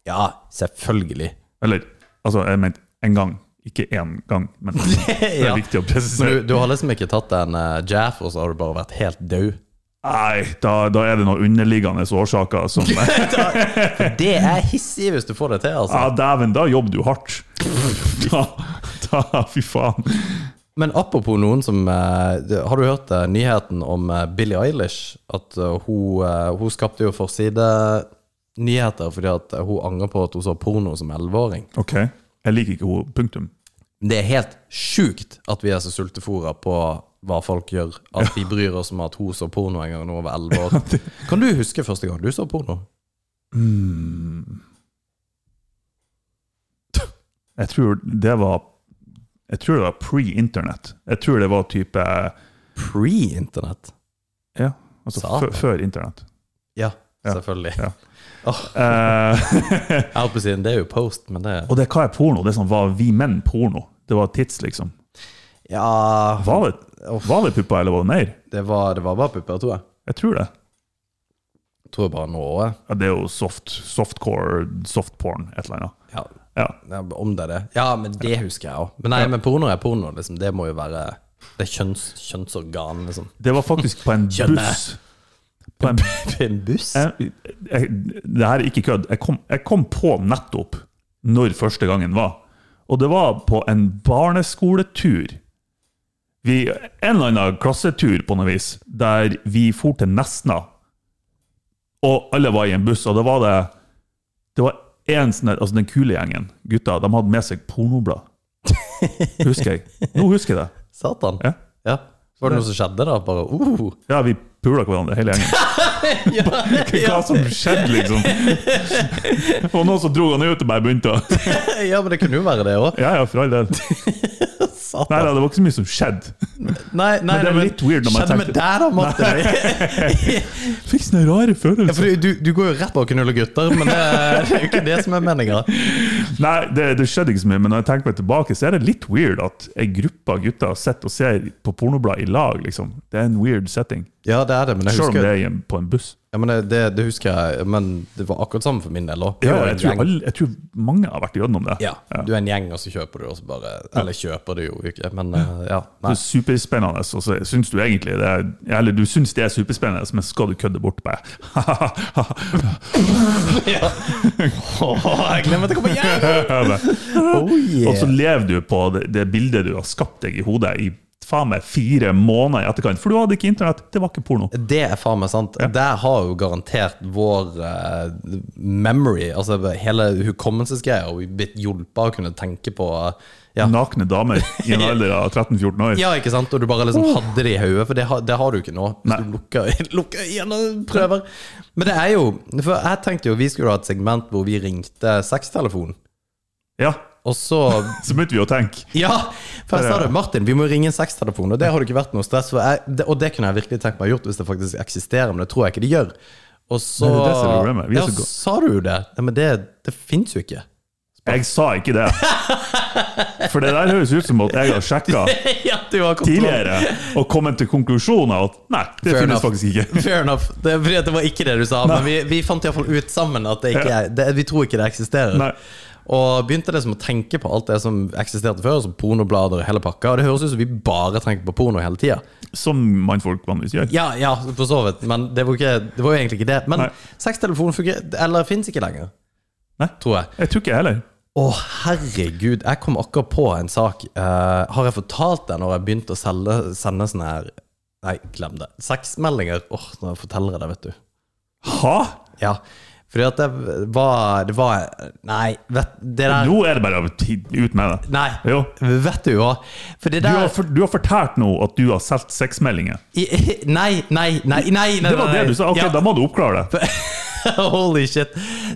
Speaker 3: Ja, selvfølgelig.
Speaker 2: Eller, altså, jeg mente en gang. Ikke én gang,
Speaker 3: *laughs*
Speaker 2: men det er
Speaker 3: Ja.
Speaker 2: viktig å
Speaker 3: Men du,
Speaker 2: presisere.
Speaker 3: du har liksom ikke tatt deg en eh, jaff, og så har du bare vært helt død?
Speaker 2: Nei, da, da er det noen underliggende årsaker som
Speaker 3: *laughs* Det er hissig hvis du får det til, altså.
Speaker 2: Ja, dæven, da jobber du
Speaker 3: *laughs*
Speaker 2: hardt. Da, da fy faen.
Speaker 3: Men apropos noen som eh, det- Har du hørt eh, nyheten om eh, Billie Eilish? At eh, hun, eh, hun skapte jo forsidenyheter fordi at eh, hun angrer på at hun så porno som 11-åring.
Speaker 2: Ok, jeg liker ikke henne. Punktum.
Speaker 3: Det er helt sjukt at vi er så sultefòra på hva folk gjør. At vi bryr oss om at hun så porno en gang da hun var 11 *laughs* år. Kan du huske første gang du så porno?
Speaker 2: Jeg tror det var Jeg tror det var pre-internett. Jeg tror det var type
Speaker 3: Pre-internett?
Speaker 2: Ja, altså
Speaker 3: Satan.
Speaker 2: fø- før internett.
Speaker 3: Ja,
Speaker 2: Ja.
Speaker 3: selvfølgelig.
Speaker 2: Ja.
Speaker 3: Åh,
Speaker 2: Eh, *laughs*
Speaker 3: jeg holdt på å si det er jo post, men det
Speaker 2: og det hva er porno? Det er sånn, var vi menn porno? Det var tids, liksom.
Speaker 3: Ja,
Speaker 2: Var det, var det pupper, eller var det mer?
Speaker 3: det var, det var bare pupper, tror jeg.
Speaker 2: Jeg tror det.
Speaker 3: Tror jeg bare nå òg.
Speaker 2: Ja, det er jo soft, softcore, softporn, et eller annet.
Speaker 3: Ja,
Speaker 2: Ja.
Speaker 3: ja, om det er det. Ja, men det husker jeg òg. Men nei, men porno er porno, liksom. Det må jo være Det er kjønns, kjønnsorgan, liksom.
Speaker 2: Det var faktisk på en
Speaker 3: Skjønner.
Speaker 2: buss. På en
Speaker 3: En buss?
Speaker 2: jeg, Eh, jeg, Det her er ikke kødd. Jeg kom, jeg kom på nettopp når første gangen var. Og det var på en barneskoletur. Vi, en eller annen klassetur, på noe vis, der vi for til Nesna. Og alle var i en buss, og da var det Det var en sånn der- altså den kule gjengen, gutta, de hadde med seg pornoblad. Husker jeg. Nå husker jeg det.
Speaker 3: Satan.
Speaker 2: Ja.
Speaker 3: Ja. Var det noe som skjedde, da? Bare uh.
Speaker 2: Ja, vi pula hverandre, hele gjengen.
Speaker 3: *laughs*
Speaker 2: Hva som skjedde, liksom? Og noen som dro han ut og bare begynte å
Speaker 3: ja, men det kunne jo være det òg.
Speaker 2: Ja, ja, for all del. Nei,
Speaker 3: Satan.
Speaker 2: da, det var ikke så mye som skjedde.
Speaker 3: Nei, nei,
Speaker 2: Men det er
Speaker 3: nei,
Speaker 2: litt weird når man
Speaker 3: Skjedde med
Speaker 2: tenker-
Speaker 3: deg, da, Martin?
Speaker 2: Fikk sånne rare
Speaker 3: Ja, for
Speaker 2: følelser.
Speaker 3: du, du, du går jo rett på å knulle gutter, men det, det er jo ikke det som er meninga.
Speaker 2: Nei, det, det skjedde ikke så mye, men når jeg tenker meg tilbake, så er det litt weird at ei gruppe av gutter sitter og ser på pornoblad i lag, liksom. Det er en weird setting.
Speaker 3: Ja, det er det, men jeg
Speaker 2: Selv om det
Speaker 3: husker,
Speaker 2: er i en- på en buss.
Speaker 3: ja, men det, det, det husker jeg. Men det var akkurat samme for min del òg.
Speaker 2: Ja, jeg, tror alle, jeg tror mange har vært igjennom det.
Speaker 3: Ja. Du er en gjeng, og så kjøper du, og så bare Eller kjøper du jo ikke, men eh, ja.
Speaker 2: Det
Speaker 3: Nei.
Speaker 2: er superspennende, og så syns du egentlig det er, Eller du syns det er superspennende, men så skal du kødde bort bare
Speaker 3: *laughs* Ja. jeg glemmer at jeg kommer hjem! Oh,
Speaker 2: Og så lever du på det, det bildet du har skapt deg i hodet i faen meg fire måneder i etterkant. For du hadde ikke internett, det var ikke porno.
Speaker 3: Det er faen meg sant. Der har jo garantert vår eh, memory, altså hele hukommelsesgreia, og vi blitt hjulpet av å kunne tenke på eh, ja.
Speaker 2: Nakne damer i
Speaker 3: *laughs*
Speaker 2: en alder av 13-14 år.
Speaker 3: ja, ikke sant? Og du bare liksom hadde det i hodet, for det har, det har du ikke nå. Hvis
Speaker 2: Nei.
Speaker 3: du lukker, *laughs* lukker øynene og prøver. Men det er jo For jeg tenkte jo vi skulle ha et segment hvor vi ringte sextelefonen.
Speaker 2: Ja.
Speaker 3: Og så
Speaker 2: Så begynte vi å tenke.
Speaker 3: Ja! For jeg sa det, Martin, vi må ringe en sextelefon, og det har det ikke vært noe stress for. Jeg, det, og det kunne jeg virkelig tenkt meg gjort hvis det faktisk eksisterer, men det tror jeg ikke det gjør. Og så
Speaker 2: Nei, det er det som er problemet. Vi er
Speaker 3: Ja,
Speaker 2: så go-
Speaker 3: sa du jo det? Nei, men det, det fins jo
Speaker 2: *laughs*
Speaker 3: ikke.
Speaker 2: Jeg sa ikke det. For det der høres ut som at jeg har sjekka
Speaker 3: *laughs* ja, du har kontroll.
Speaker 2: tidligere og kommet til konklusjonen at nei, det
Speaker 3: Fair
Speaker 2: finnes
Speaker 3: enough.
Speaker 2: faktisk ikke.
Speaker 3: *laughs* Fair enough. Det, er fordi at det var ikke det du sa, men vi, vi fant iallfall ut sammen at det ikke
Speaker 2: Ja.
Speaker 3: er, det, vi tror ikke det eksisterer.
Speaker 2: Nei.
Speaker 3: Og begynte liksom å tenke på alt det som eksisterte før, som pornoblader og hele pakka. Og det høres ut som vi bare tenker på porno hele tida.
Speaker 2: Som mannfolk vanligvis gjør.
Speaker 3: Ja, ja, for så vidt, men det var, ikke, det var jo egentlig ikke det. Men
Speaker 2: Nei.
Speaker 3: sextelefon fungerer Eller fins ikke lenger.
Speaker 2: Nei.
Speaker 3: Tror jeg.
Speaker 2: Jeg tror ikke jeg heller.
Speaker 3: Å, herregud, jeg kom akkurat på en sak. Eh, har jeg fortalt deg når jeg begynte å selge, sende sånne her Nei, glem det. Sexmeldinger. Åh, når jeg forteller jeg det, vet du.
Speaker 2: Ha?
Speaker 3: Ja, fordi at det var, det var Nei, vet, det der
Speaker 2: Nå er det bare å ti- ut med det.
Speaker 3: Nei,
Speaker 2: Jo.
Speaker 3: vet du hva? For det
Speaker 2: Du
Speaker 3: der
Speaker 2: har, for, du har fortalt nå at du har solgt sexmeldinger.
Speaker 3: i- i- Nei, nei, nei, nei, nei, nei.
Speaker 2: Det var det du sa. Ok,
Speaker 3: Ja.
Speaker 2: da må du oppklare det.
Speaker 3: *laughs* Holy shit.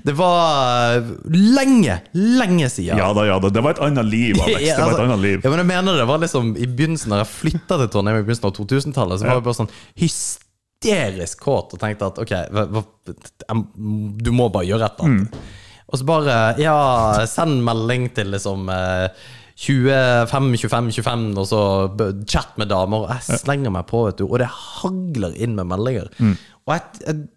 Speaker 3: Det var eh, lenge, lenge siden.
Speaker 2: Ja da, ja da. Det var et annet liv, Alex.
Speaker 3: *laughs*
Speaker 2: Det
Speaker 3: Ja,
Speaker 2: var
Speaker 3: altså,
Speaker 2: et annet liv.
Speaker 3: Ja, men jeg mener det var liksom I begynnelsen da jeg flytta til Trondheim i begynnelsen av 2000-tallet, så var jeg bare sånn hysterisk kåt og tenkte at ok, hva- hva- jeg- du må bare gjøre et eller
Speaker 2: Mm.
Speaker 3: annet. Og så bare ja, send melding til liksom eh, 25, 25, 25, og så b- chat med damer. Og jeg slenger meg på, vet du, og det hagler inn med meldinger.
Speaker 2: Mm.
Speaker 3: Og jeg, jeg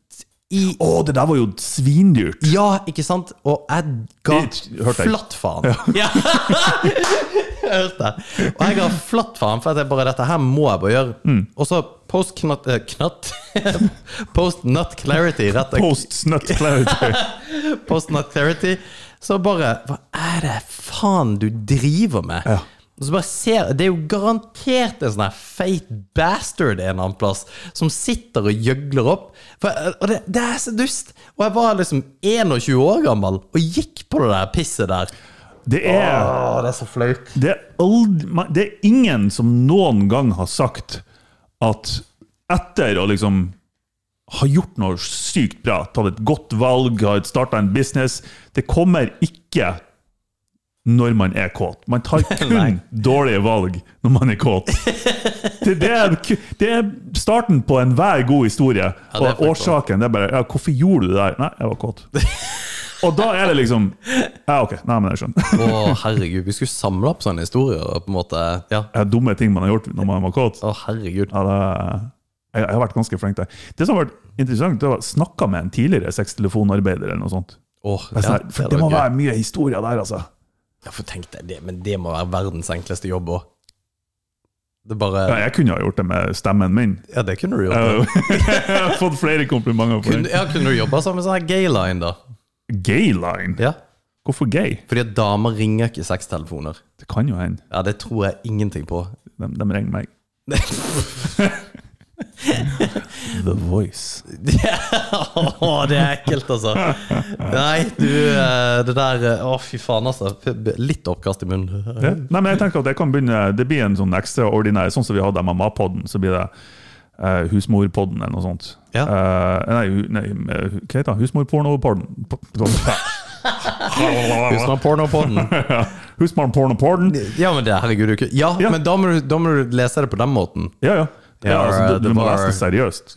Speaker 3: i,
Speaker 2: Å, det der var jo svindyrt!
Speaker 3: ja, ikke sant? Og jeg ga
Speaker 2: Det hørte jeg.
Speaker 3: flatt faen. Ja. *laughs* jeg hørte det. Og jeg ga flatt faen, for at jeg bare, dette her må jeg bare gjøre.
Speaker 2: Mm.
Speaker 3: Og så post knatt, eh, knatt. *laughs* Post not clarity. Rett,
Speaker 2: Post snut clarity.
Speaker 3: *laughs* post not clarity. Så bare Hva er det faen du driver med?
Speaker 2: Ja.
Speaker 3: Og så bare ser, Det er jo garantert en sånn her feit bastard en eller annen plass som sitter og gjøgler opp. For, og det, det er så dust! Og jeg var liksom 21 år gammel og gikk på det der pisset der.
Speaker 2: Det er
Speaker 3: Åh, det er så flaut.
Speaker 2: det er, aldri, man- det er ingen som noen gang har sagt at etter å liksom ha gjort noe sykt bra, tatt et godt valg, har starta en business Det kommer ikke når man er kåt. Man
Speaker 3: *laughs*
Speaker 2: tar kun dårlige valg når man er kåt. Det, det, er, ku- det er starten på enhver god historie.
Speaker 3: det er
Speaker 2: og årsaken det er bare ja, 'Hvorfor gjorde du det der?' Nei, jeg var
Speaker 3: *laughs*
Speaker 2: kåt. Og da er det liksom Ja, OK. Nei, men jeg skjønner. *laughs*
Speaker 3: Å, herregud. Vi skulle samle opp sånne historier og på en måte Ja.
Speaker 2: Ja, dumme ting man har gjort når man var kåt.
Speaker 3: Å, herregud.
Speaker 2: Ja, det, jeg, jeg har vært ganske flink der. Det som har vært interessant, det var snakka med en tidligere sextelefonarbeider eller noe sånt.
Speaker 3: Åh,
Speaker 2: Jeg sa,
Speaker 3: ja,
Speaker 2: for
Speaker 3: det
Speaker 2: det må
Speaker 3: var gøy.
Speaker 2: være mye historier der, altså.
Speaker 3: Ja, for tenk deg det, men det må være verdens enkleste jobb òg. Det er bare
Speaker 2: Ja, jeg kunne ha gjort det med stemmen min.
Speaker 3: Ja, det kunne du gjort. da.
Speaker 2: *laughs* Jeg har fått flere komplimenter for
Speaker 3: Kunne,
Speaker 2: det.
Speaker 3: ja, kunne du jobba sammen med sånn her gayline, da?
Speaker 2: Gayline?
Speaker 3: Ja.
Speaker 2: Hvorfor gay?
Speaker 3: Fordi at damer ringer ikke sextelefoner.
Speaker 2: Det kan jo hende.
Speaker 3: Ja, det tror jeg ingenting på. *laughs*
Speaker 2: De, de ringer meg. The Voice.
Speaker 3: *laughs* Å, det er ekkelt, altså. Nei, du eh, Det der eh, Å, fy faen, altså. Litt oppkast i munnen.
Speaker 2: Ja. Nei, men jeg tenker at det kan begynne Det blir en sånn ekstraordinær Sånn som vi hadde MMA-podden, så blir det eh, Husmorpodden eller noe sånt.
Speaker 3: Ja.
Speaker 2: Eh, nei, hu- nei, eh, hva heter det? Husmorpornopodden. P-
Speaker 3: *laughs*
Speaker 2: p-
Speaker 3: Husker du pornopodden?
Speaker 2: Husmorpornopodden.
Speaker 3: *laughs* Ja, men det, herregud. du kunne- Ja,
Speaker 2: Ja.
Speaker 3: men da må, du, da må du lese det på den måten.
Speaker 2: Ja, ja.
Speaker 3: Ja,
Speaker 2: ja altså,
Speaker 3: eh,
Speaker 2: du,
Speaker 3: det
Speaker 2: du må
Speaker 3: var-
Speaker 2: lese det seriøst.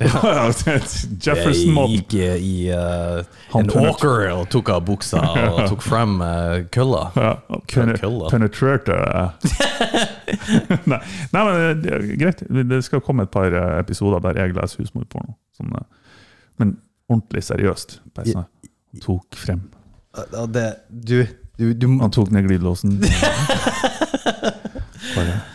Speaker 2: *laughs* Jefferson-måten.
Speaker 3: Jeg gikk eh, i eh, en
Speaker 2: Håndtørnet.
Speaker 3: åker og tok av buksa og
Speaker 2: *laughs*
Speaker 3: tok frem eh, kølla.
Speaker 2: Ja, pene-
Speaker 3: kølla.
Speaker 2: penetrerte eh. Nei, nei, men eh, det er greit. Det skal komme et par eh, episoder der jeg leser husmorporno. Sånn, eh, men ordentlig seriøst. Bare sånn, Han tok frem
Speaker 3: Ja, Det, du, du, du
Speaker 2: Han tok ned glidelåsen. Bare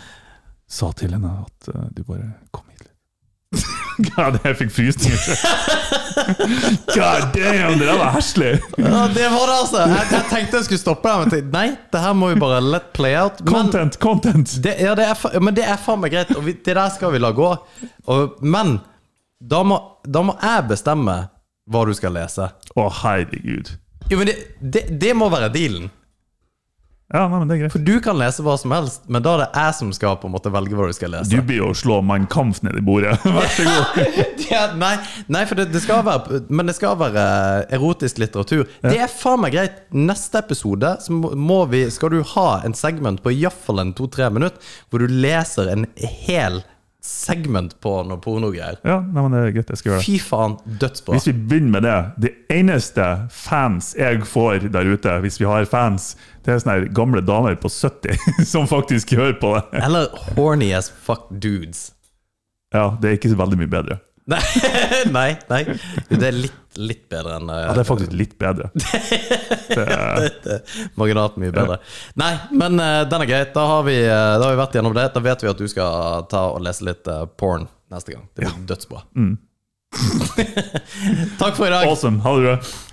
Speaker 2: sa til henne at eh, du bare kom hit *laughs* litt. God, jeg fikk frysninger. God damn, det der var heslig!
Speaker 3: Ja, det var det, altså! Jeg, jeg tenkte jeg skulle stoppe der, men tenkte, nei, det her må vi bare let play out. Men
Speaker 2: Content, content!
Speaker 3: det, ja, det er, fa- men det er faen meg greit, og vi, det der skal vi la gå. Og, men da må, da må jeg bestemme hva du skal lese.
Speaker 2: Å, herregud.
Speaker 3: Jo, men det, det, det må være dealen.
Speaker 2: Ja, nei, men det er greit.
Speaker 3: For du kan lese hva som helst, men da er det jeg som skal på en måte velge hva du skal lese.
Speaker 2: Du blir jo å slå Mein Kampf ned i *laughs* bordet. Vær så god.
Speaker 3: *laughs* Ja, nei, nei, for det, det skal være Men det skal være erotisk litteratur. Det er faen meg greit. Neste episode så må vi, skal du ha en segment på iallfall en to-tre minutter hvor du leser en hel segment på noe pornogreier.
Speaker 2: Ja, nei, men det er greit. Jeg skal gjøre det.
Speaker 3: Fy faen, dødsbra.
Speaker 2: Hvis vi begynner med det Det eneste fans jeg får der ute, hvis vi har fans, det er sånne her gamle damer på 70 *laughs* som faktisk hører på det.
Speaker 3: Eller horny as fuck dudes. *laughs*
Speaker 2: Ja, Det er ikke så veldig mye bedre.
Speaker 3: Nei, nei. nei. Det er litt, litt bedre enn eh,
Speaker 2: Ja, Det er faktisk litt bedre.
Speaker 3: Marginalt mye bedre. Nei, men eh, den er greit. Da har, vi, eh, da har vi vært gjennom det. Da vet vi at du skal ta og lese litt eh, porn neste gang. Det blir dødsbra. *laughs* Takk for i dag.
Speaker 2: Awesome. Ha det bra.